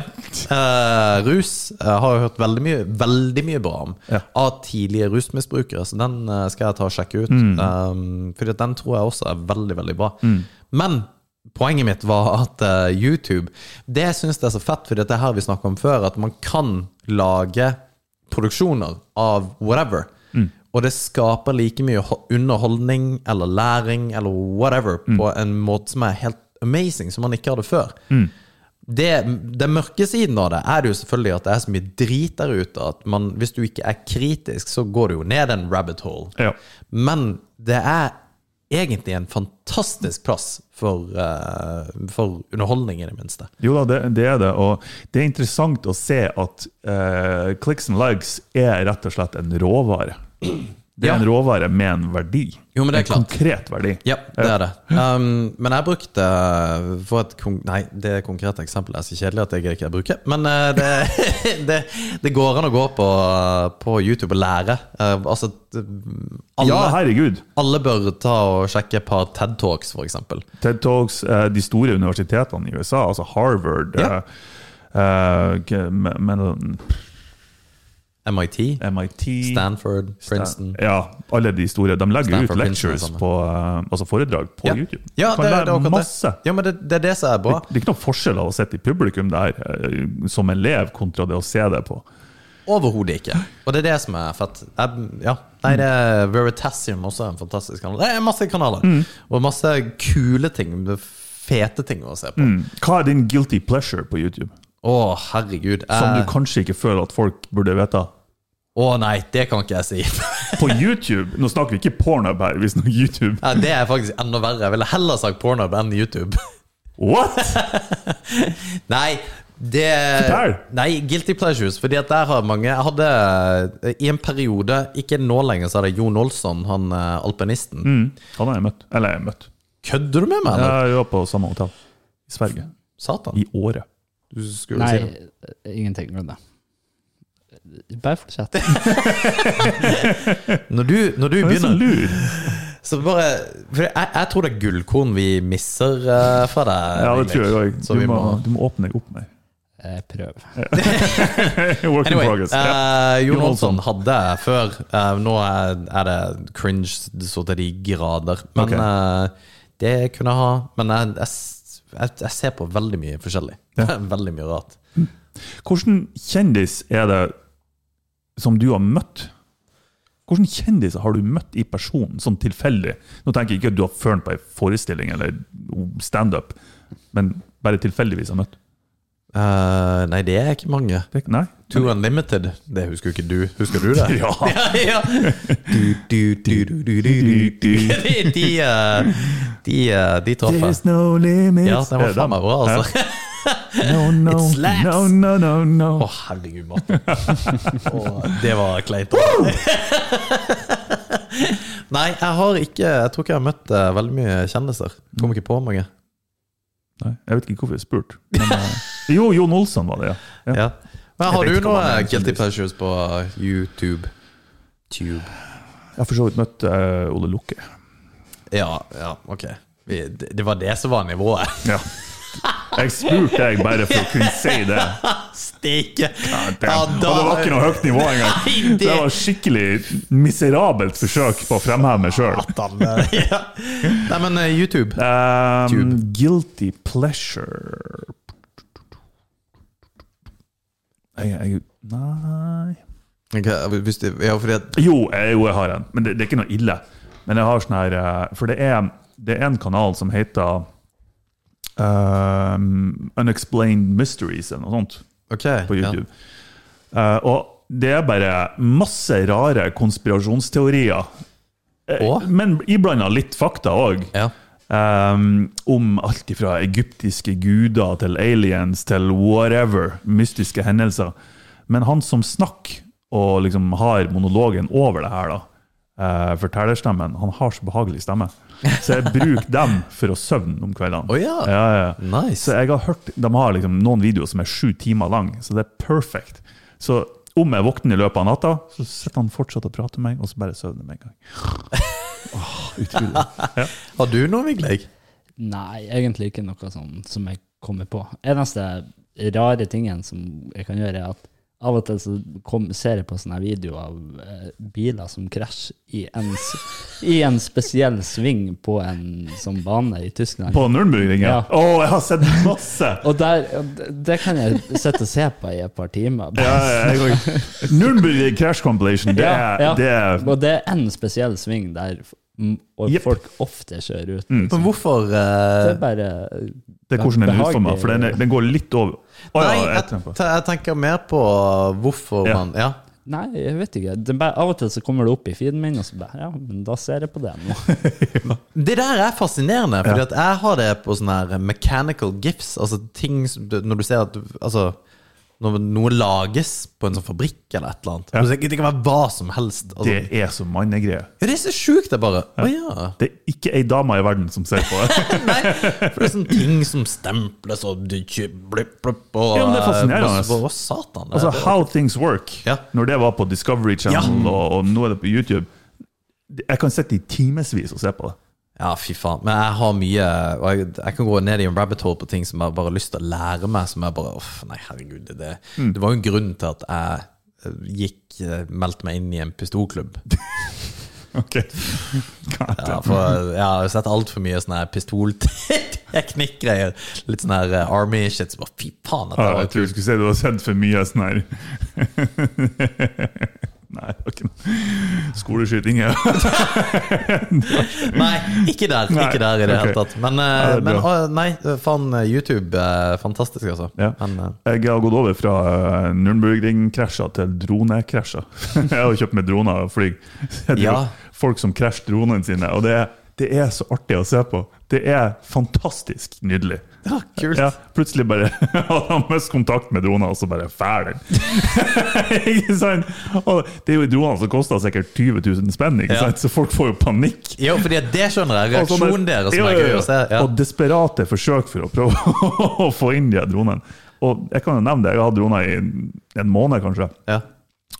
S2: Eh, rus eh, har jeg hørt veldig mye, veldig mye bra om
S3: Ja.
S2: av tidlige rusmisbrukere, så den eh, skal jeg ta og sjekke ut. Um, fordi at den tror jeg også er veldig, veldig bra. Men poenget mitt var at eh, YouTube Det jeg syns er så fett, fordi at det er her vi snakka om før, at man kan lage produksjoner av whatever. Og det skaper like mye ho- underholdning eller læring eller whatever på en måte som er helt amazing, som man ikke hadde før. Det, den mørke siden av det er det jo selvfølgelig at det er så mye drit der ute at man, hvis du ikke er kritisk, så går du jo ned en rabbit hole.
S3: Ja.
S2: Men det er egentlig en fantastisk plass for, eh, for underholdning, i det minste.
S3: Jo da, det, det er det. Og det er interessant å se at eh, clicks and likes er rett og slett en råvare. Det er
S2: Ja.
S3: en råvare med en verdi.
S2: Jo, men det er
S3: En
S2: klart.
S3: konkret verdi.
S2: Ja, det er det. Um, men jeg brukte eh, for et kon Nei, det konkrete eksempelet er så kjedelig at jeg greier ikke å bruke. Men eh, det, det, det går an å gå på, på YouTube og lære. Eh, altså alle,
S3: Eh, Ja, herregud!
S2: alle bør ta og sjekke et par TED Talks, for eksempel.
S3: TED Talks, eh, de store universitetene i USA, altså Harvard
S2: Ja.
S3: eh, eh, k- men- men-
S2: MIT,
S3: MIT
S2: Stanford, Princeton.
S3: Ja, alle de store. De legger
S2: Stanford,
S3: ut lectures
S2: Princeton og sånn.
S3: på eh, Altså foredrag på
S2: Ja.
S3: YouTube.
S2: Ja, det, det
S3: kan
S2: er
S3: lære
S2: akkurat
S3: masse.
S2: det. Ja, men det, det er det som er bra.
S3: Det er ikke noen forskjell av å sitte i publikum der eh, som elev, kontra det å se det på.
S2: Overhodet ikke. Og det er det som er fett. Jeg, ja.
S3: Mm.
S2: Nei, det er Veritasium også er en fantastisk kanal. Det er masse kanaler.
S3: Mm.
S2: Og masse kule ting. Fete ting å
S3: Mm.
S2: se på. Å,
S3: Hva er din guilty pleasure på YouTube?
S2: herregud.
S3: Som du
S2: Eh,
S3: kanskje ikke føler at folk burde vite?
S2: Å nei, det kan ikke jeg si.
S3: På YouTube! Nå snakker vi ikke pornhub her, vi snakker YouTube.
S2: Ja, det er faktisk enda verre. Jeg ville heller sagt porno enn YouTube.
S3: What?!
S2: Nei, det
S3: Fortell!
S2: Nei, Guilty Pleasures. Fordi at der har mange Jeg hadde eh, i en periode, ikke nå lenger, så er det Jon Olsson, han eh, alpinisten.
S3: Mm, han har jeg møtt. Eller jeg har møtt.
S2: Kødder du med meg, eller?
S3: Jeg var på samme hotell i Sverige.
S2: Satan.
S3: I året.
S2: Du skulle
S4: Nei,
S2: si det.
S4: ingenting. Glem det. Bare fortsett.
S2: Når du, når du
S3: Han er så
S2: begynner
S3: lur!
S2: Så bare For jeg, jeg tror det er gullkorn vi misser eh, fra deg.
S3: Ja, det
S2: Henrik.
S3: tror jeg òg.
S2: Så
S3: Du,
S2: vi må
S3: må- du må åpne deg opp mer.
S4: Eh, Prøv.
S3: Work in
S2: Anyway,
S3: progress. Ja.
S2: eh, Jon
S3: Jon
S2: Olsson
S3: Olsson.
S2: hadde jeg før. eh, nå er, er det cringe så til de grader. Men
S3: Ok.
S2: eh, det kunne jeg ha. Men jeg, jeg, s- jeg, jeg ser på veldig mye forskjellig. veldig mye rart.
S3: Hvordan kjendis er det som du har møtt? Hvordan kjendiser har du møtt i personen, sånn tilfeldig? Nå tenker jeg ikke at du har ført på ei forestilling eller standup, men bare tilfeldigvis har møtt.
S2: Eh, nei, det er ikke mange.
S3: Det er ikke- Nei?
S2: Two Unlimited, det husker jo ikke du. Husker du det?
S3: Ja.
S2: ja, ja. Du, du, du, du, du, du, du. De, de, eh, de, eh, de traff jeg.
S3: There's no limits.
S2: Ja, den var faen meg bra, altså.
S3: No, no,
S2: It slaps.
S3: no, no, no, no.
S2: Å, herregud, Martin. Å, det var kleint. altså. Nei, jeg har ikke Jeg tror ikke jeg har møtt eh, veldig mye kjendiser. Kom ikke på mange.
S3: Nei, jeg vet ikke hvorfor jeg spurte. Men, eh, jo, Jon Olsen var det, ja.
S2: Ja. Men
S3: Jeg
S2: har
S3: vet
S2: du
S3: ikke
S2: noe
S3: om han er en
S2: guilty
S3: kjendis.
S2: pleasures på YouTube? Tube.
S3: Jeg har for så vidt møtt eh, Ole Lukke.
S2: Ja, ja, ok. Vi, det det var det som var nivået.
S3: Ja. Jeg spurte jeg bare for å kunne si det.
S2: Steike!
S3: Ja, og det var ikke noe høyt nivå engang.
S2: Nei, det-
S3: Det var skikkelig miserabelt forsøk på å fremheve meg sjøl.
S2: ja. Nei, men eh, YouTube.
S3: Um,
S2: Tube.
S3: guilty pleasure jeg, jeg, Nei
S2: Ok, hvis du, ja, fordi at
S3: Jo, jeg, jo, jeg har en. Men det, det er ikke noe ille. Men jeg har sånn her eh, For det er, det er en kanal som heter um, Unexplained Mysteries eller noe sånt.
S2: Ok.
S3: på YouTube. Eh, og det er bare masse rare konspirasjonsteorier. Eh,
S2: Åh?
S3: Men iblanda litt fakta òg.
S2: Ja.
S3: om alt ifra egyptiske guder til aliens til whatever. Mystiske hendelser. Men han som snakker og liksom har monologen over det her, da, eh, fortellerstemmen, han har så behagelig stemme. Så jeg bruker dem for å sovne om kveldene.
S2: Å ja.
S3: Ja, ja. Så
S2: Nice.
S3: jeg har hørt, De har liksom noen videoer som er sju timer lang, så det er perfect. Så om jeg våkner i løpet av natta, så sitter han fortsatt og prater med meg, og så bare søvner jeg med en gang. Åh, utrolig.
S2: Har du noe, Vigleg?
S4: Nei, egentlig ikke noe sånn som jeg kommer på. Eneste rare tingen som jeg kan gjøre, er at av og til så kom, ser jeg på sånne videoer av eh, biler som krasjer i en, s- i en spesiell sving på en sånn bane i Tyskland.
S3: På Nürnbergringen?
S4: Ja.
S3: Å, jeg har sett masse!
S4: Og der, det kan jeg sitte og se på i et par timer.
S3: Ja, jeg òg. Nürnberg Crash Compilation, det er,
S4: Ja, ja.
S3: Det er
S4: Og det er en spesiell sving der f- m- og
S3: Jepp. Mm.
S4: folk ofte kjører ut.
S2: Men hvorfor
S4: Det
S2: eh,
S4: er bare
S3: det er hvordan den er
S4: Behagelig.
S3: utforma, for den, er, den går litt over. Å ja,
S2: Nei,
S3: jeg
S2: jeg,
S3: tenker på.
S2: jeg tenker mer på hvorfor
S3: Ja.
S2: man Ja.
S4: Nei, jeg vet ikke. Det er bare, av og til så kommer det opp i feeden min, og så bare Ja, men da ser jeg på det nå.
S2: Det der er fascinerende, Fordi at jeg har det på sånne her mechanical gifs. Altså ting som du- Når du ser at du- Altså når noe lages på en sånn fabrikk eller et eller annet.
S3: Ja.
S2: Du tenker, Det kan være hva som helst. Altså,
S3: Det
S2: det.
S3: er så mannegreier.
S2: Ja, det er så sjukt, det bare. Å ja.
S3: Det er ikke ei dame i verden som ser på det.
S2: Nei, for det er sånne ting som stemples og du kjø- blipp, blipp, og
S3: Ja, men det er fascinerende.
S2: Hva hva satan? det er
S3: Altså,
S2: det.
S3: How Things Work,
S2: Ja.
S3: når det var på Discovery Channel, og, og nå er det på YouTube Jeg kan sitte i timevis og se på det.
S2: Ja, fy faen. Men jeg har mye og jeg, jeg kan gå ned i en rabbit hole på ting som jeg bare har lyst til å lære meg. Som jeg bare Uff, nei, herregud. Det, det,
S3: Mm.
S2: det var jo en grunn til at jeg eh, gikk eh, meldte meg inn i en pistolklubb.
S3: Ok.
S2: Ja, for jeg har sett altfor mye sånne her pistolteknikk-greier. Litt sånn her eh, Army-shit. Så bare fy faen, dette
S3: Ja,
S2: var
S3: Ah, jeg tror jeg skulle si du har sett for mye sånn her Nei, det var ikke noe skoleskyting. Ja.
S2: Nei, ikke der.
S3: Nei,
S2: Ikke der i det
S3: ok.
S2: hele tatt. Men,
S3: Ja,
S2: eh,
S3: det er
S2: men
S3: bra.
S2: å, nei, faen, eh, YouTube eh, fantastisk, altså.
S3: Ja.
S2: Men, eh,
S3: Jeg har gått over fra eh, Nürnbergring-krasjer til dronekrasjer. Jeg har kjøpt meg droner og flyg. Jeg tror
S2: Ja.
S3: Folk som krasjer dronene sine. Og det er, det er så artig å se på. Det er fantastisk nydelig.
S2: ja, kult.
S3: Ja, plutselig bare hadde han mest kontakt med droner, og så bare fæl den. ikke sant? Og det er jo droner som koster sikkert 20 000 spenn, ikke
S2: Ja.
S3: sant? så folk får jo panikk.
S2: Jo, fordi at det skjønner jeg.
S3: Og sånn der-
S2: Reaksjonen deres som
S3: Ja,
S2: er
S3: ja,
S2: gøy
S3: ja.
S2: å se. Ja.
S3: Og desperate forsøk for å prøve å få inn de her dronene. Og jeg kan jo nevne det, jeg har hatt droner i en måned kanskje,
S2: Ja.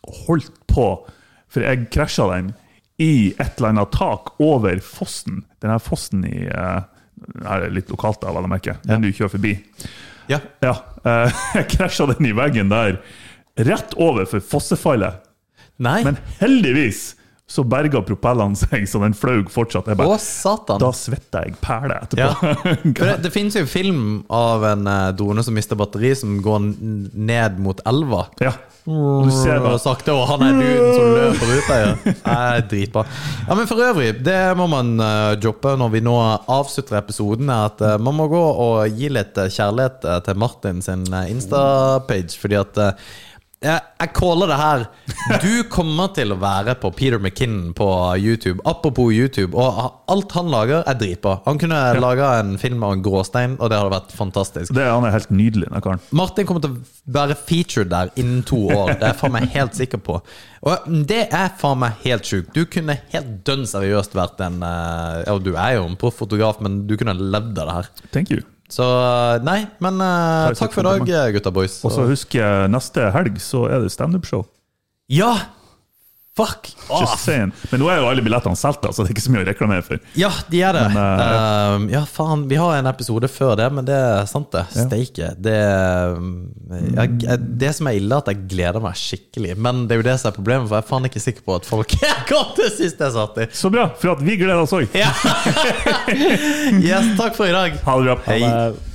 S3: og holdt på, for jeg krasja den i et eller annet tak over fossen. Den her fossen i eh, her er det litt lokalt, da, vel å merke. Den du kjører forbi.
S2: ja.
S3: Ja, eh, jeg krasja den i veggen der, rett over for fossefallet.
S2: Nei.
S3: Men heldigvis så berga propellene seg, så den fløy fortsatt.
S2: Å,
S3: Jeg bare,
S2: satan!
S3: da svetta jeg perle
S2: ja.
S3: etterpå.
S2: For det, det finnes jo en film av en eh, drone som mister batteri, som går n- ned mot elva.
S3: Ja. Og Du ser
S2: Og
S3: bare
S2: sakte, og han er duden som løper ut der. Ja. Nei, dritbra. Ja, men for øvrig, det må man eh, droppe når vi nå avslutter episoden, er at eh, man må gå og gi litt eh, kjærlighet eh, til Martin sin eh, Insta-page, fordi at eh, Jeg, jeg caller det her. Du kommer til å være på Peter McKinnon på YouTube. Apropos YouTube, og ha- alt han lager, er dritbra. Han kunne laga en film av en gråstein, og det hadde vært fantastisk.
S3: Det, han er helt nydelig, den karen.
S2: Martin kommer til å være featured der innen to år. Det er jeg faen meg helt sikker på. Og det er faen meg helt sjukt. Du kunne helt dønn seriøst vært en eh, Ja, du er jo en proff fotograf, men du kunne levd av det her.
S3: Thank you.
S2: Så nei, men eh,
S3: Takk
S2: takk for i dag, eh, gutta boys.
S3: Og så husk, eh, neste helg så er det standup-show.
S2: Ja! Fuck
S3: Just
S2: off!
S3: saying. Men nå er jo alle billettene solgt, da, så det er ikke så mye å reklamere for.
S2: Ja, de er det.
S3: Men,
S2: Eh, ja, faen. Vi har en episode før det, men det er sant, det. Steike. Det, ehm, jeg, jeg, det som er ille, er at jeg gleder meg skikkelig. Men det er jo det som er problemet, for jeg er faen ikke sikker på at folk kom til sist jeg satt i.
S3: Så bra, for at vi gleder oss òg.
S2: Ja. Yes, takk for i dag.
S3: Ha det bra.
S2: Hei.
S4: Eh,